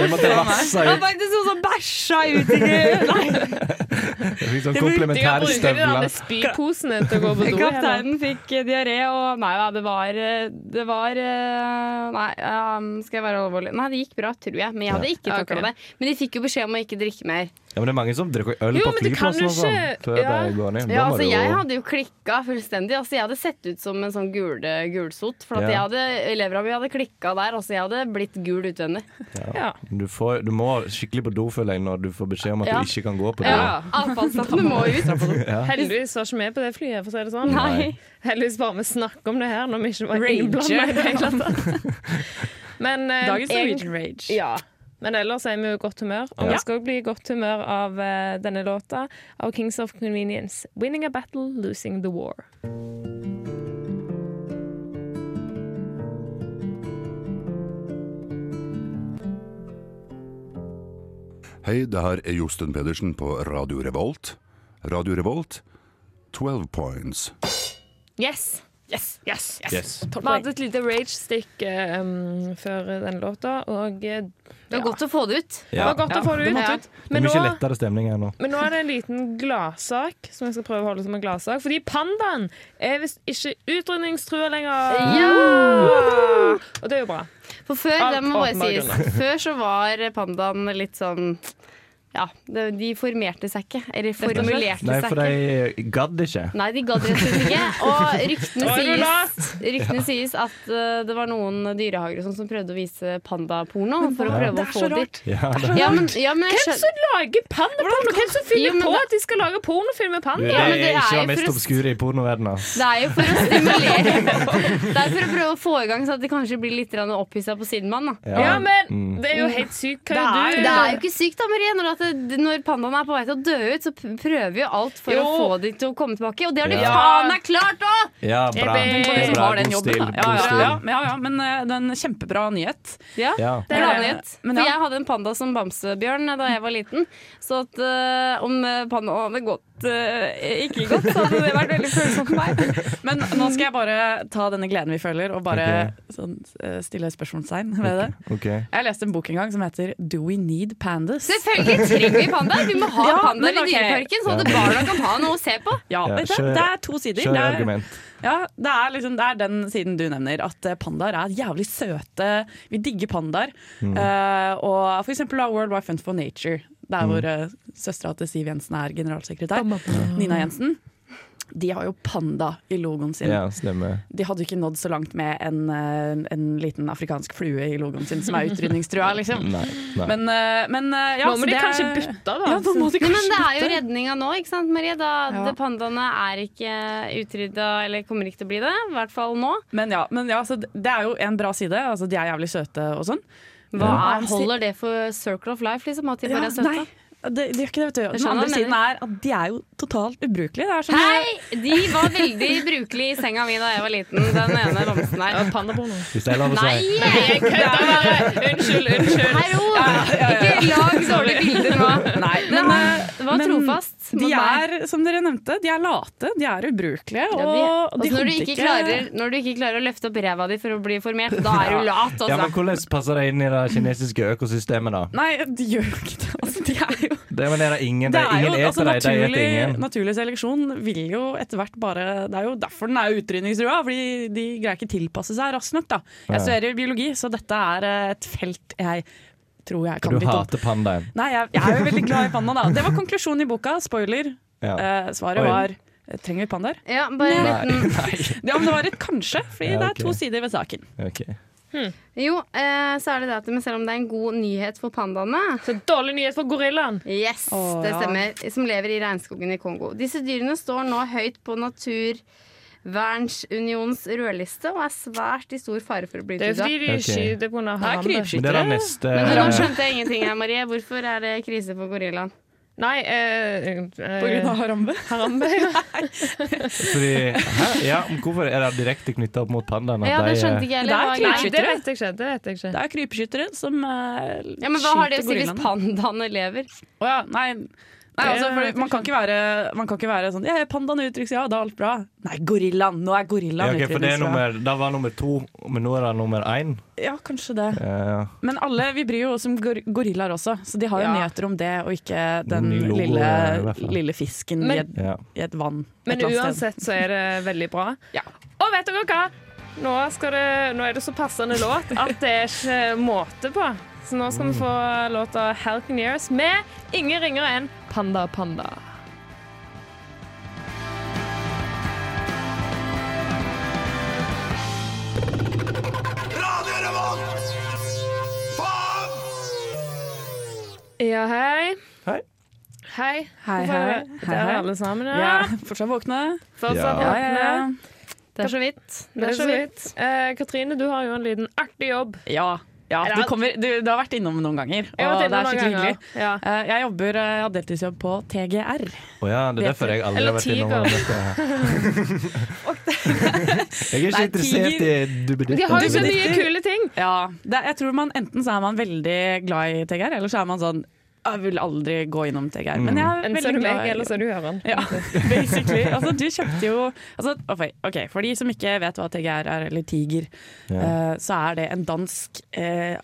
Speaker 6: Jeg måtte vasse
Speaker 7: var
Speaker 6: ut.
Speaker 7: faktisk noen som bæsja ut i Nei,
Speaker 6: Jeg fikk sånn
Speaker 2: De kan
Speaker 6: komplementære
Speaker 2: bruke de der
Speaker 6: støvler.
Speaker 2: med spyposene til å gå på do. heller.
Speaker 7: Kapteinen fikk eh, diaré og Nei da, det var eh, Det var eh, Nei, ehm, skal jeg være alvorlig? Nei, det gikk bra, tror jeg. Men jeg hadde ikke
Speaker 2: Ja, ok.
Speaker 7: takla det. Men de fikk jo beskjed om å ikke drikke mer.
Speaker 6: Ja, men det er mange som drikker øl
Speaker 2: Jo,
Speaker 6: på
Speaker 2: men det kan
Speaker 6: flyplassen
Speaker 2: du
Speaker 6: og sånn
Speaker 2: ikke-
Speaker 6: før
Speaker 2: Ja.
Speaker 6: de går ned. Da
Speaker 7: Ja,
Speaker 6: må
Speaker 7: altså
Speaker 6: du jo-
Speaker 7: Jeg hadde jo klikka fullstendig. Altså Jeg hadde sett ut som en sånn gule, gulsot. For at
Speaker 6: Ja.
Speaker 7: jeg hadde, elevra mi hadde klikka der. Altså Jeg hadde blitt gul utvendig.
Speaker 2: Ja.
Speaker 6: du, får, du må skikkelig på do, føler jeg, når du får beskjed om at
Speaker 7: Ja.
Speaker 6: du ikke kan gå på do.
Speaker 7: Ja. Avfallsstappene må ut.
Speaker 2: Heldigvis var ikke vi på det flyet, for å si det sånn.
Speaker 7: Nei.
Speaker 2: Heldigvis bare vi snakker om det her når vi ikke var
Speaker 8: Rager.
Speaker 2: innblanda i det hele tatt. Men, eh,
Speaker 8: Dagens
Speaker 2: jeg-
Speaker 8: Norwegian Rage.
Speaker 2: Ja. Men ellers er vi jo i godt humør, og vi skal også bli i godt humør av eh, denne låta av Kings of Convenience. 'Winning a battle, losing the war'.
Speaker 9: Hei, det her er Josten Pedersen på Radio Revolt. Radio Revolt, 12 points.
Speaker 2: Yes! Yes, yes, yes.
Speaker 6: Yes.
Speaker 2: Vi hadde et lite rage-stick eh, um, før den låta, og eh,
Speaker 7: Det var godt å få det ut.
Speaker 2: det var godt å få det
Speaker 7: måtte
Speaker 2: ut.
Speaker 6: Det er
Speaker 2: Men
Speaker 6: mye
Speaker 2: nå
Speaker 6: lettere stemning her nå.
Speaker 2: Men nå er det en liten gladsak som jeg skal prøve å holde som en gladsak. Fordi pandaen er visst ikke utrydningstrua lenger.
Speaker 7: Ja!
Speaker 2: Og det er jo bra.
Speaker 7: For før,
Speaker 2: Alt
Speaker 7: det må bare
Speaker 2: åpenbare
Speaker 7: sies, før så var pandaen litt sånn Ja, det- de formerte seg ikke. Eller formulerte
Speaker 6: Nei,
Speaker 7: seg
Speaker 6: for
Speaker 7: ikke.
Speaker 6: de gadd ikke.
Speaker 7: Nei, de gadd rett og slett ikke. Og ryktene
Speaker 2: Nå er du lat!
Speaker 7: sies, ryktene sies at eh, det var noen dyrehager og sånn som prøvde å vise pandaporno for å prøve å
Speaker 8: Det er så
Speaker 7: få de
Speaker 8: rart.
Speaker 6: Ja, det,
Speaker 7: ja, men, ja, men jeg
Speaker 2: Hvem
Speaker 7: skjønner-
Speaker 2: som lager pandaporno? Hvem som
Speaker 7: Jo, men
Speaker 2: finner på
Speaker 7: det-
Speaker 2: at de skal lage pornofilm med
Speaker 6: du,
Speaker 2: panda?
Speaker 6: det
Speaker 7: men
Speaker 6: er
Speaker 7: det er
Speaker 6: ikke
Speaker 7: jo
Speaker 6: det mest
Speaker 7: for å-
Speaker 6: obskure i altså. pornoverdenen. ass.
Speaker 7: Det er jo for å stimulere Det er for å prøve å få i gang så at de kanskje blir litt opphissa på sidemann. Da.
Speaker 2: Ja, men det er jo helt sykt. Hva
Speaker 8: Det
Speaker 2: gjør
Speaker 8: er-
Speaker 2: du?
Speaker 7: Det er jo ikke sykt da, Marie, når at at det, når pandaen er på vei til å dø ut, så p- prøver vi jo alt for
Speaker 2: Jo.
Speaker 7: å få de til å komme tilbake. Og det har de
Speaker 6: Ja.
Speaker 7: faen meg klart òg!
Speaker 6: Ja, bra.
Speaker 2: Ebbe. På de som
Speaker 6: Det er bra.
Speaker 8: liksom har den
Speaker 6: God
Speaker 8: jobben,
Speaker 6: stil.
Speaker 8: da. Ja,
Speaker 6: God
Speaker 8: ja,
Speaker 6: stil.
Speaker 8: ja, men ja, ja, men eh, det er en kjempebra nyhet.
Speaker 7: Ja.
Speaker 6: Ja.
Speaker 7: Det er
Speaker 2: Ja.
Speaker 7: gladnyhet.
Speaker 8: Men
Speaker 7: For
Speaker 8: ja.
Speaker 7: jeg hadde en panda som bamsebjørn da jeg var liten. Så at eh, om eh, pandaen hadde gått eh, ikke godt, så hadde det sånn vært veldig følsomt for meg.
Speaker 8: Men nå skal jeg bare ta denne gleden vi føler, og bare sånn, eh, stille spørsmålstegn ved det.
Speaker 6: Ok.
Speaker 8: Jeg leste en bok en gang som heter Do We Need Pandas?
Speaker 7: Selvfølgelig trenger vi pandaer! Vi må ha
Speaker 8: Ja,
Speaker 7: pandaer
Speaker 8: men ok.
Speaker 7: i dyreparken, sånn at barna kan ha noe å se på.
Speaker 8: Ja,
Speaker 6: Ja,
Speaker 8: vet du,
Speaker 6: kjør-
Speaker 8: det er to sider.
Speaker 6: Kjør
Speaker 8: Det er-
Speaker 6: argument.
Speaker 8: Ja, det er, liksom, det er den siden du nevner, at eh, pandaer er jævlig søte. Vi digger pandaer.
Speaker 6: Mm.
Speaker 8: Eh, og for eksempel da World Wide Fund for Nature, der
Speaker 6: Mm.
Speaker 8: hvor uh, søstera til Siv Jensen er generalsekretær, Nina Jensen. De har jo panda i logoen sin.
Speaker 6: Ja, stemmer.
Speaker 8: De hadde jo ikke nådd så langt med en, eh, en liten afrikansk flue i logoen sin, som er utrydningstrua, liksom.
Speaker 6: Nei. nei.
Speaker 8: Men, eh, men eh, ja,
Speaker 2: Nå
Speaker 8: så
Speaker 2: må de
Speaker 8: det
Speaker 2: kanskje
Speaker 8: er-
Speaker 2: bytte, da.
Speaker 8: Ja, nå må de
Speaker 7: Nei,
Speaker 8: kanskje
Speaker 7: men det er jo
Speaker 8: bytte.
Speaker 7: redninga nå, ikke sant Marie? Da
Speaker 8: Ja.
Speaker 7: de pandaene er ikke utrydda, eller kommer ikke til å bli det. I hvert fall nå.
Speaker 8: Men ja, men ja så det det er jo en bra side. Altså, de er jævlig søte og sånn.
Speaker 7: Hva
Speaker 8: Ja.
Speaker 7: er, holder det for circle of life, liksom? At de bare
Speaker 8: Ja,
Speaker 7: er søte?
Speaker 8: nei, det, det gjør ikke det, vet du.
Speaker 7: Jeg
Speaker 8: Den
Speaker 7: skjønner hva
Speaker 8: andre
Speaker 7: du
Speaker 8: siden
Speaker 7: mener.
Speaker 8: er at de er jo totalt ubrukelige. Det er sånn,
Speaker 7: Hei! De var veldig brukelige i senga mi da jeg var liten, den ene bamsen her.
Speaker 2: Pandaporno.
Speaker 6: Hvis det er lov å
Speaker 7: Nei!
Speaker 6: si.
Speaker 2: Unnskyld, unnskyld.
Speaker 7: Hallo! Ikke lag dårlige bilder nå.
Speaker 8: Nei,
Speaker 7: Det
Speaker 8: men
Speaker 7: var, det var
Speaker 8: men
Speaker 7: trofast.
Speaker 8: de
Speaker 7: mot meg.
Speaker 8: er, som dere nevnte, de er late, de er ubrukelige.
Speaker 7: Ja,
Speaker 8: Og
Speaker 7: de-
Speaker 8: de
Speaker 7: altså, når, du
Speaker 8: hadde
Speaker 7: ikke klarer, når du ikke klarer å løfte opp ræva di for å bli formert, da er du lat. Altså.
Speaker 6: Ja, men hvordan passer det inn i det kinesiske økosystemet, da?
Speaker 8: Nei, de gjør jo ikke det. Altså, de er jo,
Speaker 6: Det er, men er det ingen,
Speaker 8: det
Speaker 6: det er
Speaker 8: er jo
Speaker 6: ingen
Speaker 8: altså,
Speaker 6: eter deg, de eter
Speaker 8: naturlig,
Speaker 6: ingen.
Speaker 8: naturlig seleksjon vil jo etter hvert bare Det er jo derfor den er utrydningstrua, fordi de greier ikke tilpasse seg raskt nok. Da. Jeg studerer biologi, så dette er eh, et felt jeg tror jeg kan
Speaker 6: Du
Speaker 8: litt om.
Speaker 6: hater pandaen.
Speaker 8: Nei, jeg, jeg er jo veldig glad i panda, da. Det var konklusjonen i boka. Spoiler.
Speaker 6: Ja.
Speaker 8: Eh, svaret
Speaker 6: Oi.
Speaker 8: var eh, trenger vi pandaer?
Speaker 7: Ja, bare en
Speaker 6: Nei.
Speaker 7: liten
Speaker 8: Ja, men det var et kanskje, fordi
Speaker 6: Ja, ok.
Speaker 8: det er to sider ved saken.
Speaker 6: Ok.
Speaker 7: Jo, eh, så er det det at men selv om det er en god nyhet for pandaene
Speaker 2: Så dårlig nyhet for gorillaen.
Speaker 7: Yes,
Speaker 8: Å,
Speaker 7: det
Speaker 8: ja.
Speaker 7: stemmer. Som lever i regnskogen i Kongo. Disse dyrene står nå høyt på Naturvernsunionens rødliste og er svært i stor fare for å bli
Speaker 2: Det er jo
Speaker 7: utrydda.
Speaker 2: fordi de
Speaker 6: Ok.
Speaker 2: skyter pga.
Speaker 8: Det er
Speaker 2: harambe.
Speaker 6: Men det er da
Speaker 8: krypskyttere.
Speaker 6: neste
Speaker 7: Men nå skjønte jeg ingenting her, Marie. Hvorfor er det krise for gorillaen?
Speaker 2: Nei eh, eh,
Speaker 8: På grunn av harambe.
Speaker 2: harambe. ja.
Speaker 6: fordi, hæ? Ja, men hvorfor er det direkte knytta opp mot pandaen? at
Speaker 7: Ja,
Speaker 6: de,
Speaker 7: det
Speaker 6: eh,
Speaker 7: skjønte ikke jeg
Speaker 8: det er
Speaker 7: heller.
Speaker 2: Nei,
Speaker 7: Hva-
Speaker 8: krypskyttere.
Speaker 2: det vet jeg ikke. Det vet jeg ikke.
Speaker 8: Det er krypskyttere som eh,
Speaker 7: Ja, men hva har det å
Speaker 8: skyter
Speaker 7: si hvis
Speaker 8: gorillaene.
Speaker 7: pandaene lever?
Speaker 8: Å ja, nei. Nei, altså, for man, kan ikke være, man kan ikke være sånn ja, 'Pandaen uttrykkes, ja, da er alt bra'. Nei, gorillaen! Nå er
Speaker 6: Ja,
Speaker 8: gorillaen liksom.
Speaker 6: ok, for det er
Speaker 8: utrydningstrua.
Speaker 6: nummer, da var nummer to, men nå er det nummer én.
Speaker 8: Ja, kanskje det.
Speaker 6: Eh,
Speaker 8: Men alle, vi bryr jo oss om gor gorillaer også, så de har jo
Speaker 2: Ja.
Speaker 8: nyheter om det, og ikke den
Speaker 6: Ny logo,
Speaker 8: lille,
Speaker 6: i hvert fall.
Speaker 8: lille fisken
Speaker 2: Men-
Speaker 8: i, et,
Speaker 6: ja.
Speaker 8: i et vann.
Speaker 2: Men
Speaker 8: et eller annet sted.
Speaker 2: uansett så er det veldig bra.
Speaker 8: Ja.
Speaker 2: Og vet dere hva? Nå, skal det, nå er det så passende låt at det er ikke måte på. Så nå skal vi få låta 'Halconeers' med ingen ringere enn Panda Panda.
Speaker 3: Radio Revolt! Faen!
Speaker 2: Ja, hei.
Speaker 6: Hei.
Speaker 2: Hei.
Speaker 8: Hei,
Speaker 2: Hvorfor er
Speaker 8: hei.
Speaker 2: det-
Speaker 8: Hei,
Speaker 2: Der
Speaker 8: hei.
Speaker 2: er alle sammen,
Speaker 8: Vi
Speaker 2: ja.
Speaker 8: er fortsatt våkne.
Speaker 2: Fortsatt
Speaker 6: Ja.
Speaker 2: våkne.
Speaker 7: Det er så vidt.
Speaker 2: altså. Det er så vidt. Eh, Katrine, du har jo en liten artig jobb.
Speaker 8: Ja. ja du, kommer, du, du har vært innom noen ganger,
Speaker 2: Jeg har vært
Speaker 8: og det
Speaker 2: innom
Speaker 8: er
Speaker 2: noen
Speaker 8: skikkelig
Speaker 2: ganger.
Speaker 8: hyggelig.
Speaker 2: Ja.
Speaker 8: Eh, Jeg jobber, eh, jeg har deltidsjobb på TGR.
Speaker 6: Å ja, det er derfor jeg aldri
Speaker 2: Eller
Speaker 6: har vært innom
Speaker 2: tiger.
Speaker 6: dette. her. Jeg er ikke
Speaker 8: Nei,
Speaker 6: interessert i
Speaker 8: tiger-
Speaker 2: De har jo så
Speaker 6: dubbeditter.
Speaker 2: mye kule ting.
Speaker 8: Ja, det, jeg tror man Enten så er man veldig glad i TGR, eller så er man sånn Jeg vil aldri gå innom TGR. Men jeg er
Speaker 2: Enten så er
Speaker 8: veldig
Speaker 2: du
Speaker 8: glad
Speaker 2: meg,
Speaker 8: i
Speaker 2: eller så er du Høran.
Speaker 8: Ja, basically. Altså, du kjøpte jo altså, ok, ok, For de som ikke vet hva TGR er, eller Tiger, eh, så er det en dansk eh,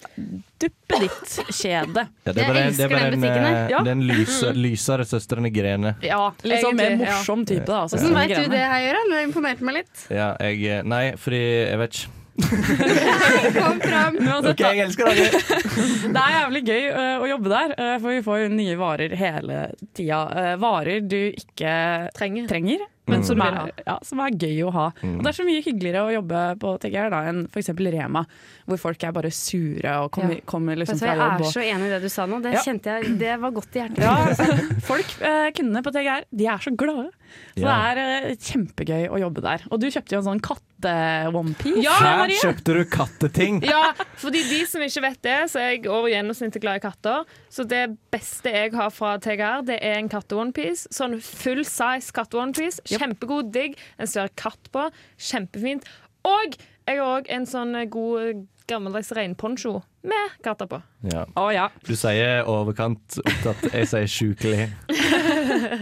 Speaker 8: duppeditt-kjede.
Speaker 6: Ja, det
Speaker 7: Jeg
Speaker 6: er bare, det
Speaker 7: elsker
Speaker 6: er bare
Speaker 7: den
Speaker 6: en,
Speaker 7: butikken her.
Speaker 6: eh,
Speaker 8: Ja.
Speaker 6: den lyse, lysere søstrene Grene.
Speaker 8: Ja, litt sånn mer
Speaker 2: Egentlig, ja.
Speaker 8: morsom type, da. Altså,
Speaker 7: Hvordan
Speaker 8: sånn
Speaker 7: veit du
Speaker 8: greiene.
Speaker 7: det her, Gøran? Du imponerte meg litt.
Speaker 6: Ja, jeg Nei, fordi jeg vet ikke.
Speaker 7: Kom fram.
Speaker 8: Men uansett, da,
Speaker 6: jeg elsker dere!
Speaker 8: Det er jævlig gøy eh, å jobbe der, eh, for vi får jo nye varer hele tida. Eh, varer du ikke
Speaker 2: Trenger.
Speaker 8: trenger, men som,
Speaker 2: du vil ha.
Speaker 8: er, ja, som er gøy å ha. Og det er så mye hyggeligere å jobbe på TGR da, enn f.eks. Rema, hvor folk er bare sure og kommer,
Speaker 7: Ja.
Speaker 8: kommer liksom
Speaker 7: Vet du hva,
Speaker 8: fra
Speaker 7: jeg
Speaker 8: jobb.
Speaker 7: er
Speaker 8: Og,
Speaker 7: så enig i det du sa nå. Det
Speaker 8: Ja.
Speaker 7: kjente jeg, det var godt i hjertet.
Speaker 8: ja, folk, eh, kundene på TGR, de er så glade. Så
Speaker 6: Ja.
Speaker 8: det er eh, kjempegøy å jobbe der. Og du kjøpte jo en sånn katte katte-onepiece.
Speaker 2: Ja,
Speaker 6: Her
Speaker 2: Maria!
Speaker 6: kjøpte du katteting!
Speaker 2: Ja, fordi de som ikke vet det, så er jeg over gjennomsnittet glad i katter. Så det beste jeg har fra TGR, det er en katte-onepiece. Sånn full size katte-onepiece. Kjempegod, digg. En svær katt på. Kjempefint. Og jeg har òg en sånn god gammeldags reinponcho med katter på.
Speaker 6: Ja.
Speaker 8: Å ja.
Speaker 6: Du sier overkant opptatt, jeg sier sjukelig.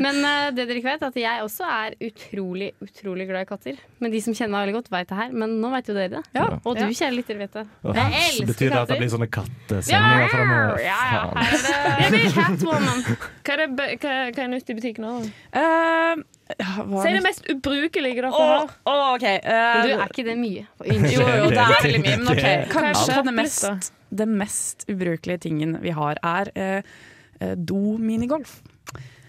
Speaker 7: Men eh, det dere ikke vet, er at jeg også er utrolig, utrolig glad i katter. Men de som kjenner meg veldig godt, vet det her. Men nå vet jo dere det.
Speaker 8: Ja.
Speaker 7: Og du,
Speaker 2: Ja.
Speaker 7: kjære lytter, vet det.
Speaker 6: Åh,
Speaker 7: Jeg elsker
Speaker 6: Betyr det at det
Speaker 7: katter.
Speaker 6: blir sånne kattesendinger framover?
Speaker 7: Ja, ja.
Speaker 6: Faen.
Speaker 7: Her er det Catwoman.
Speaker 2: Hva er, det, be- hva, hva er nytt i butikken nå?
Speaker 8: Eh, hva
Speaker 2: Si det mest ubrukelige dere
Speaker 8: Å,
Speaker 2: har.
Speaker 8: å, OK. eh,
Speaker 7: Men du, er ikke det mye? Unnskyld.
Speaker 8: Jo, jo, det er veldig mye, men OK.
Speaker 2: Eh, Kanskje
Speaker 8: Eh, Kanskje den
Speaker 2: opplista.
Speaker 8: mest, den mest ubrukelige tingen vi har, er eh, eh, do-minigolf.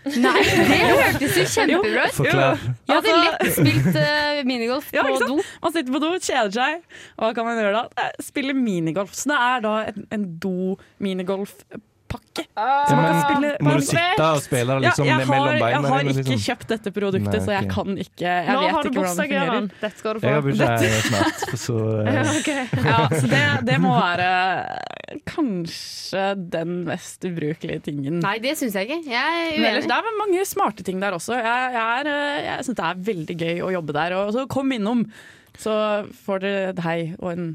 Speaker 7: Nei, det hørtes jo kjempebra ut.
Speaker 6: Forklar.
Speaker 7: Jeg hadde
Speaker 8: Altså-
Speaker 7: lett spilt eh, minigolf
Speaker 8: Ja,
Speaker 7: på
Speaker 8: ikke sant?
Speaker 7: do.
Speaker 8: Man sitter på do, kjeder seg. Hva kan man gjøre da? Eh, Spille minigolf. Så det er da en, en do-minigolfpakke.
Speaker 2: Ah.
Speaker 6: Ja,
Speaker 8: man kan
Speaker 6: men,
Speaker 8: spille-
Speaker 6: må
Speaker 8: man-
Speaker 6: du sitte og spille
Speaker 8: Ja,
Speaker 6: liksom,
Speaker 8: jeg, har,
Speaker 6: mellom beina?
Speaker 8: jeg har
Speaker 6: dine,
Speaker 8: ikke
Speaker 6: liksom?
Speaker 8: kjøpt dette produktet,
Speaker 6: Nei,
Speaker 8: så jeg
Speaker 6: ok.
Speaker 8: kan ikke Jeg
Speaker 2: Nå
Speaker 8: vet
Speaker 2: har du
Speaker 8: ikke hvordan det
Speaker 2: bursdag,
Speaker 8: fungerer.
Speaker 2: Gøran. Dette skal du
Speaker 6: Jeg har
Speaker 2: få.
Speaker 6: bursdag snart, så eh,
Speaker 2: Ok.
Speaker 8: Ja, så det, det må være eh, kanskje den mest ubrukelige tingen.
Speaker 7: Nei, det syns jeg ikke. Jeg er
Speaker 8: Men
Speaker 7: uenig.
Speaker 8: det er mange smarte ting der også. Jeg, jeg, er, eh, jeg syns det er veldig gøy å jobbe der. Og så kom innom, så får dere et hei og en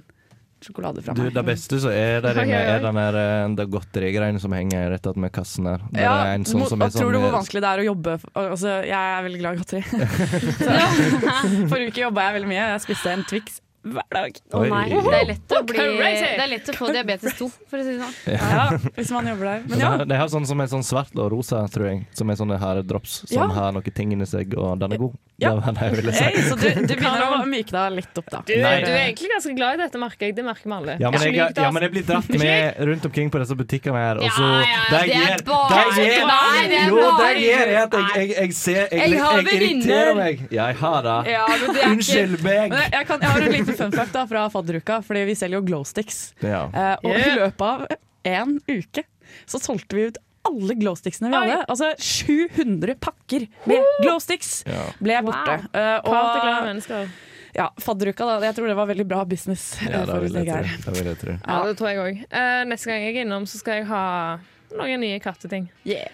Speaker 8: sjokolade fra
Speaker 6: Du,
Speaker 8: meg.
Speaker 6: det beste som er der
Speaker 2: Oi,
Speaker 6: inne,
Speaker 2: oi, oi.
Speaker 6: er den der eh, det godterigreiene som henger rett attmed kassen her. Der
Speaker 8: Ja,
Speaker 6: er en
Speaker 8: du må-
Speaker 6: sånn som er
Speaker 8: og tror du hvor
Speaker 6: sånn
Speaker 8: vanskelig det er å jobbe for- altså, Jeg er veldig glad i godteri. Så, Forrige uke jobba jeg veldig mye. Jeg spiste en Twix hver dag.
Speaker 7: Å nei,
Speaker 6: Oi.
Speaker 7: det er lett å, bli,
Speaker 2: Crazy!
Speaker 7: det er lett å få diabetes 2, for å si det sånn.
Speaker 8: Ja, hvis man jobber der. Men
Speaker 6: Men
Speaker 8: ja,
Speaker 6: det- Det har sånn som er sånn svart og rosa, tror jeg. Som er sånne haredrops som
Speaker 8: Ja.
Speaker 6: har noen ting inni seg, og den er god.
Speaker 8: Ja.
Speaker 6: Det var det jeg ville si.
Speaker 8: hey, så du, du begynner å myke deg litt opp, da.
Speaker 2: Du, du
Speaker 6: Nei.
Speaker 2: er egentlig ganske glad i dette markedet. Det merker vi alle.
Speaker 6: Ja, men
Speaker 2: Ikke
Speaker 6: jeg,
Speaker 2: lyg til
Speaker 6: ja,
Speaker 2: oss.
Speaker 6: men jeg blir dratt med rundt omkring på disse butikkene her, og så
Speaker 7: Ja, ja, det er
Speaker 6: gjør-
Speaker 7: bare-
Speaker 6: det gjør-
Speaker 7: Nei, det er
Speaker 6: Jo, det
Speaker 7: bare-
Speaker 6: gjør jeg at jeg, jeg, jeg ser Jeg,
Speaker 7: Jeg har
Speaker 6: jeg irriterer
Speaker 7: venninner.
Speaker 6: meg. Jeg har det.
Speaker 8: Ja, men det er ikke-
Speaker 6: Unnskyld meg.
Speaker 8: Men jeg, jeg, kan, jeg har en liten fun fact da, fra fadderuka, fordi vi selger jo glowsticks.
Speaker 6: Ja.
Speaker 8: Eh, og
Speaker 2: Yeah.
Speaker 8: i løpet av en uke så solgte vi ut alle glowsticksene vi
Speaker 2: Oi.
Speaker 8: hadde. Altså 700 pakker med glowsticks
Speaker 6: Ja.
Speaker 8: ble borte. Eh,
Speaker 2: Prat til glade
Speaker 8: og
Speaker 2: mennesker.
Speaker 8: ja, fadderuka, da. Jeg tror det var veldig bra business.
Speaker 6: Ja,
Speaker 8: eh,
Speaker 6: det
Speaker 8: for
Speaker 6: vil jeg
Speaker 8: Vegard.
Speaker 6: tro. Det vil jeg tro.
Speaker 2: Ja, det tror jeg òg. neste gang jeg er innom, så skal jeg ha noen nye katteting.
Speaker 8: Yeah.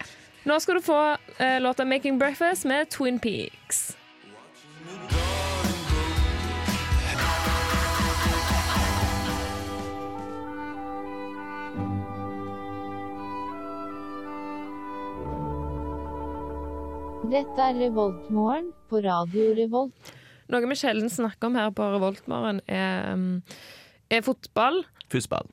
Speaker 2: Nå skal du få eh, låta 'Making Breakfast' med Twin Peaks.
Speaker 10: Dette er Revoltmorgen på Radio Revolt.
Speaker 2: Noe vi sjelden snakker om her på Revoltmorgen, er, um, er fotball.
Speaker 6: Fussball.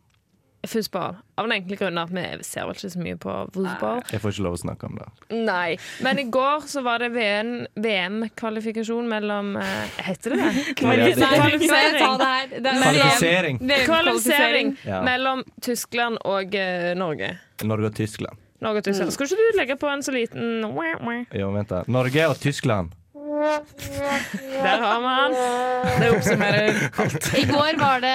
Speaker 2: Fotball. Av den enkle grunn at vi ser vel ikke så mye på fotball.
Speaker 6: Jeg får ikke lov å snakke om det.
Speaker 7: eh,
Speaker 2: Nei. Men i går så var det VN VM-kvalifikasjon mellom eh, Heter det det?
Speaker 7: Nei, skal jeg ta det her? Det er-
Speaker 6: Kvalifisering.
Speaker 7: Det er
Speaker 2: Kvalifisering
Speaker 6: Ja.
Speaker 2: mellom Tyskland og eh, Norge.
Speaker 6: Norge og Tyskland.
Speaker 2: Norge og
Speaker 7: Mm.
Speaker 2: Tyskland. Skulle ikke du legge på en så liten wah, wah?
Speaker 6: Jo, vent da. Norge og Tyskland.
Speaker 2: Der har vi han. Det oppsummerer.
Speaker 7: I går var det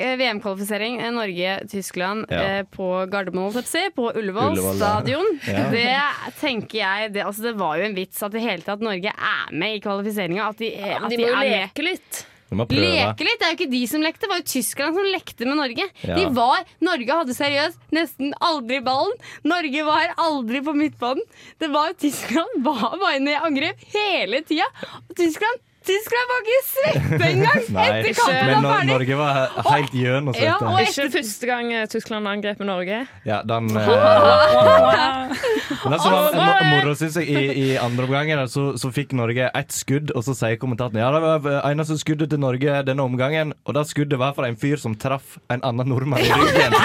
Speaker 7: eh, VM-kvalifisering eh, Norge-Tyskland
Speaker 6: Ja.
Speaker 7: eh, på Gardermoen, holdt jeg på å si, på Ullevål,
Speaker 6: Ullevål, ja.
Speaker 7: stadion.
Speaker 6: Ja.
Speaker 7: Det tenker jeg det, altså, det var jo en vits at det hele tatt Norge er med i kvalifiseringa. At de, eh, at
Speaker 2: De
Speaker 7: de
Speaker 2: må jo
Speaker 7: er med.
Speaker 2: leke litt.
Speaker 6: Du må prøve.
Speaker 7: Leke litt! Det er jo ikke de som lekte, det var jo Tyskland som lekte med Norge.
Speaker 6: Ja.
Speaker 7: De var, Norge hadde seriøst nesten aldri ballen. Norge var aldri på midtbanen. Det var Tyskland var bare inne i angrep hele tida. Og Tyskland Tyskland var ikke svette engang
Speaker 6: Nei,
Speaker 7: etter
Speaker 6: men
Speaker 7: kampen var
Speaker 6: Nor-
Speaker 7: ferdig!
Speaker 6: Norge var he- helt gjennom
Speaker 7: Ja, og-
Speaker 6: svette.
Speaker 2: Ikke første gang eh, Tyskland angrep Norge.
Speaker 6: Ja, den eh, ja. Men Det som var mo- moro, syns jeg, i, i andre omgangen, så, så fikk Norge ett skudd, og så sier kommentatoren ja, det var eh, eneste skuddet til Norge denne omgangen, og det skuddet var fra en fyr som traff en annen nordmann i ryggen.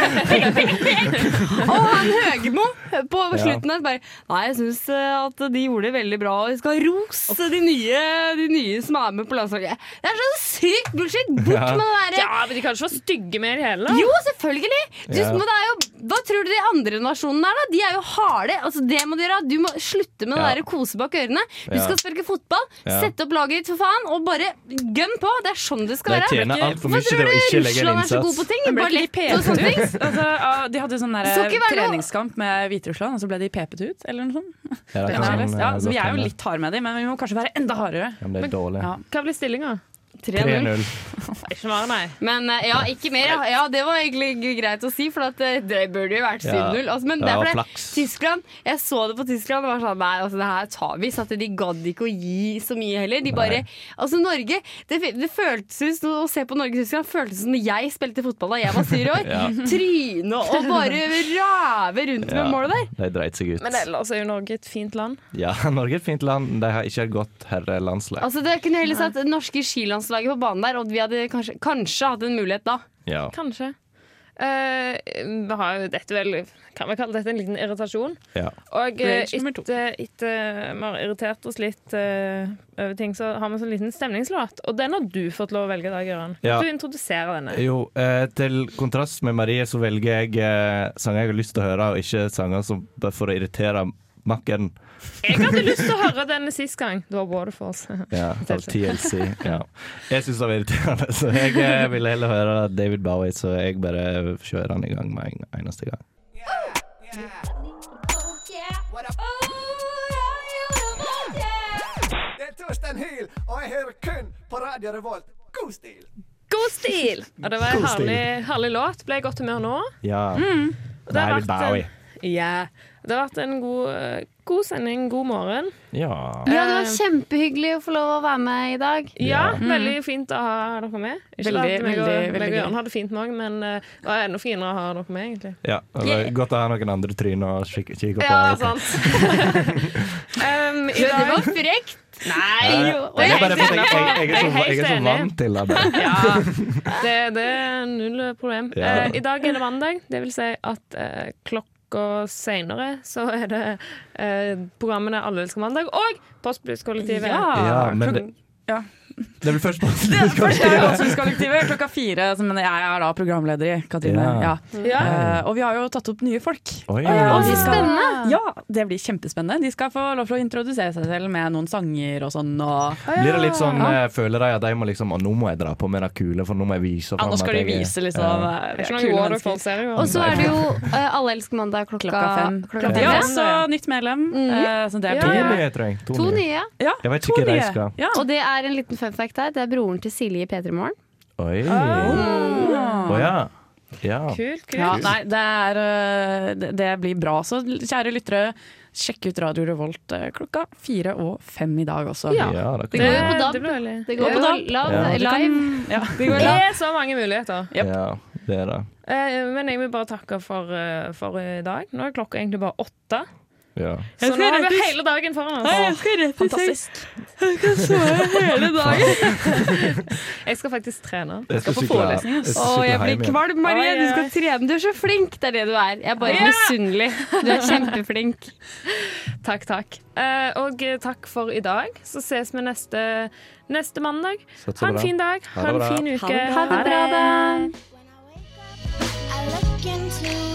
Speaker 7: Og han Høgmo på
Speaker 6: Ja.
Speaker 7: slutten der bare Nei, jeg syns at de gjorde det veldig bra, og vi skal rose de nye, de nye som er med på landslaget. Det er så sykt bullshit! Bort
Speaker 6: Ja.
Speaker 7: med det derre
Speaker 2: Ja, men De kan ikke være stygge med det hele.
Speaker 7: Jo, selvfølgelig! Du,
Speaker 6: Ja.
Speaker 7: men det er jo, hva tror du de andre nasjonene er, da? De er jo harde. Altså, det må du gjøre. Du må slutte med det
Speaker 6: Ja.
Speaker 7: der kose bak ørene. Du
Speaker 6: Ja.
Speaker 7: skal sparke fotball,
Speaker 6: Ja.
Speaker 7: sette opp laget ditt for faen, og bare gønn på. Det er sånn det
Speaker 6: De
Speaker 7: skal være.
Speaker 6: tjener altfor mye
Speaker 7: Hvorfor
Speaker 6: til å
Speaker 7: tror du
Speaker 6: ikke legge en
Speaker 7: Russland er så god
Speaker 6: innsats.
Speaker 7: på ting? Ballett og sånne ting.
Speaker 8: Altså, ah, de hadde jo sånn der,
Speaker 7: Det skal ikke være noe-
Speaker 8: treningskamp med Hviterussland, og så ble de pepet ut, eller noe sånt.
Speaker 6: Ja, det
Speaker 8: Ja,
Speaker 6: kan, eh,
Speaker 8: ja, så vi
Speaker 6: godt
Speaker 8: er jo
Speaker 6: hende.
Speaker 8: litt harde med dem, men vi må kanskje være enda hardere.
Speaker 6: ja, men det er dårlig.
Speaker 8: Ja.
Speaker 2: Hva blir stillinga?
Speaker 6: 3-0.
Speaker 7: 3-0.
Speaker 2: Ikke mer, nei.
Speaker 7: Men eh, ja, ikke mer. Ja, ja det var egentlig g- greit å si, for at eh, det burde jo vært
Speaker 6: Ja.
Speaker 7: 7-0. Altså, men det
Speaker 6: Ja,
Speaker 7: er fordi
Speaker 6: flaks.
Speaker 7: Tyskland Jeg så det på Tyskland og var sånn Nei, altså, det her tar vi. Så at de gadd ikke å gi så mye heller. De bare Altså, Norge Det, det føltes ut å se på Norge-Tyskland føltes som da jeg spilte fotball da jeg var syv år.
Speaker 6: Ja.
Speaker 7: Tryne og bare rave rundt
Speaker 6: Ja,
Speaker 7: med målet der.
Speaker 6: De dreit seg ut.
Speaker 2: Men ellers er jo Norge et fint land.
Speaker 6: Ja, Norge er et fint land. De har ikke et godt herrelandslag.
Speaker 7: Altså, det kunne heller satt det norske skilandslaget på banen der, og vi hadde kanskje, kanskje hatt en mulighet da.
Speaker 6: Ja.
Speaker 2: Kanskje. Eh, vi har jo dette vel Kan vi kalle dette en liten irritasjon?
Speaker 6: ja.
Speaker 2: Og eh,
Speaker 8: Rage nummer to.
Speaker 2: etter etter eh, vi har irritert oss litt eh, over ting, så har vi en sånn liten stemningslåt. Og den har du fått lov å velge i dag, Gøran.
Speaker 6: Ja.
Speaker 2: Du introduserer denne.
Speaker 6: Jo, eh, til kontrast med Marie så velger jeg eh, sanger jeg har lyst til å høre, og ikke sanger som bare for å irritere makkeren.
Speaker 2: Jeg hadde lyst til å høre denne sist gang. Det var Waterfalls.
Speaker 6: Ja, av TLC. Ja. Jeg syns det var irriterende, så jeg eh, ville heller høre David Bowie, så jeg bare kjører han i gang med en eneste gang.
Speaker 3: Det er Torstein Hyl, og jeg hører kun på Radio Revolt. God stil!
Speaker 2: God stil! Og det var en
Speaker 6: God stil.
Speaker 2: herlig, herlig låt. Ble i godt humør nå.
Speaker 6: Ja.
Speaker 2: Og det har
Speaker 6: David
Speaker 2: vært en-
Speaker 6: Bowie.
Speaker 2: Ja. Det har vært en god, eh, god sending. God morgen.
Speaker 6: Ja.
Speaker 7: Ja, det
Speaker 6: Eh,
Speaker 7: var kjempehyggelig å få lov å være med i dag.
Speaker 2: Ja, veldig fint å ha dere med. Ikke
Speaker 8: Mm. Veldig,
Speaker 2: at meg og,
Speaker 8: veldig,
Speaker 2: meg
Speaker 8: veldig
Speaker 2: og
Speaker 8: gøy.
Speaker 2: Jørn hadde fint med òg, men eh, det var enda finere å ha dere med, egentlig.
Speaker 6: ja. Det var godt å ha noen andre tryn å kik- kikke på.
Speaker 7: altså,
Speaker 2: Um, i
Speaker 7: Ja, det
Speaker 2: dag,
Speaker 7: var frekt. Nei,
Speaker 6: Eh,
Speaker 7: jo.
Speaker 6: det er bare
Speaker 2: helt
Speaker 6: fordi jeg, jeg, jeg, er så-
Speaker 2: enig. Jeg er
Speaker 6: jeg er så
Speaker 2: helt
Speaker 6: vant til det. bare.
Speaker 2: ja, det, det er null problem.
Speaker 6: Ja.
Speaker 2: Eh, I dag er det mandag, det vil si at eh, klokka seinere så er det eh, programmene Alle elsker mandag og Postblusskollektivet.
Speaker 6: Ja, men det,
Speaker 8: Ja.
Speaker 6: det er vel først
Speaker 8: Først er det Åshuskollektivet klokka fire, som jeg er da programleder i, Katrine.
Speaker 6: Ja.
Speaker 8: Ja.
Speaker 2: Ja.
Speaker 8: Eh, og vi har jo tatt opp nye folk.
Speaker 6: Oi.
Speaker 8: Og de skal-
Speaker 7: Spennende.
Speaker 8: Ja, det blir kjempespennende. De skal få lov til å introdusere seg selv med noen sanger og sånn. Og
Speaker 6: Blir det litt sånn, eh, føler jeg at de må liksom Å, nå må jeg dra på med det kule, for nå må jeg vise frem
Speaker 8: Anders skal de
Speaker 6: at jeg er-
Speaker 8: vise, liksom.
Speaker 6: Ja.
Speaker 8: eh,
Speaker 2: Det er
Speaker 8: vi
Speaker 2: ikke
Speaker 8: er
Speaker 2: noe
Speaker 8: kule mennesker.
Speaker 2: Waterfall-serie.
Speaker 7: Og så er det jo eh, Alle elsker mandag klokka,
Speaker 8: Klokka fem.
Speaker 7: klokka
Speaker 8: De har
Speaker 7: fem.
Speaker 8: også nytt medlem. eh, så det er
Speaker 2: Ja.
Speaker 6: To
Speaker 8: to.
Speaker 6: nye, tror jeg. To,
Speaker 7: To
Speaker 6: nye.
Speaker 7: nye.
Speaker 8: Ja,
Speaker 6: Jeg vet
Speaker 8: to
Speaker 6: ikke hva de
Speaker 8: nye.
Speaker 6: skal.
Speaker 8: Ja.
Speaker 7: Og det er en liten fun fact her. Det er broren til Silje i P3 Morgen.
Speaker 6: Oi.
Speaker 8: Ah.
Speaker 6: Å ja. Ja.
Speaker 2: Kult, kult.
Speaker 8: Ja, nei, det, er, eh, det det blir bra. Så kjære lyttere, sjekk ut Radio Revolt eh, klokka fire og fem i dag også.
Speaker 2: Ja.
Speaker 6: Ja, det
Speaker 7: Det
Speaker 6: kan
Speaker 7: går
Speaker 6: jeg.
Speaker 7: jo på DAB.
Speaker 2: det blir veldig
Speaker 7: Det går på
Speaker 2: Ja.
Speaker 7: DAB. La-
Speaker 6: Ja.
Speaker 7: Live.
Speaker 8: Ja.
Speaker 2: Det er så mange muligheter.
Speaker 8: Yep.
Speaker 6: Ja, det er det.
Speaker 2: Eh, men jeg vil bare takke for, eh, for i dag. Nå er klokka egentlig bare åtte.
Speaker 6: Ja.
Speaker 2: Så nå
Speaker 8: skal
Speaker 2: har vi
Speaker 8: rett i-
Speaker 2: hele dagen foran oss.
Speaker 8: Fantastisk.
Speaker 2: Jeg skal faktisk trene.
Speaker 6: Jeg
Speaker 8: skal
Speaker 6: skal
Speaker 8: på
Speaker 6: sykle-
Speaker 8: forelesning, ass.
Speaker 6: jeg
Speaker 7: Å,
Speaker 6: skal sykle
Speaker 7: jeg
Speaker 6: hjem
Speaker 7: blir
Speaker 6: igjen.
Speaker 7: kvalm, Marie.
Speaker 2: Oi,
Speaker 7: Du
Speaker 2: oi.
Speaker 7: skal trene. Du er så flink. Det er det du er. Jeg er bare misunnelig. Du er kjempeflink.
Speaker 2: Takk, takk. Eh, og eh, takk for i dag. Så ses vi neste, neste mandag.
Speaker 6: Satser
Speaker 2: Ha
Speaker 6: på
Speaker 2: en
Speaker 6: det.
Speaker 2: fin dag.
Speaker 6: Ha
Speaker 2: Ha
Speaker 6: det
Speaker 2: en
Speaker 6: bra.
Speaker 2: fin uke.
Speaker 7: Ha det bra, da.
Speaker 10: I look into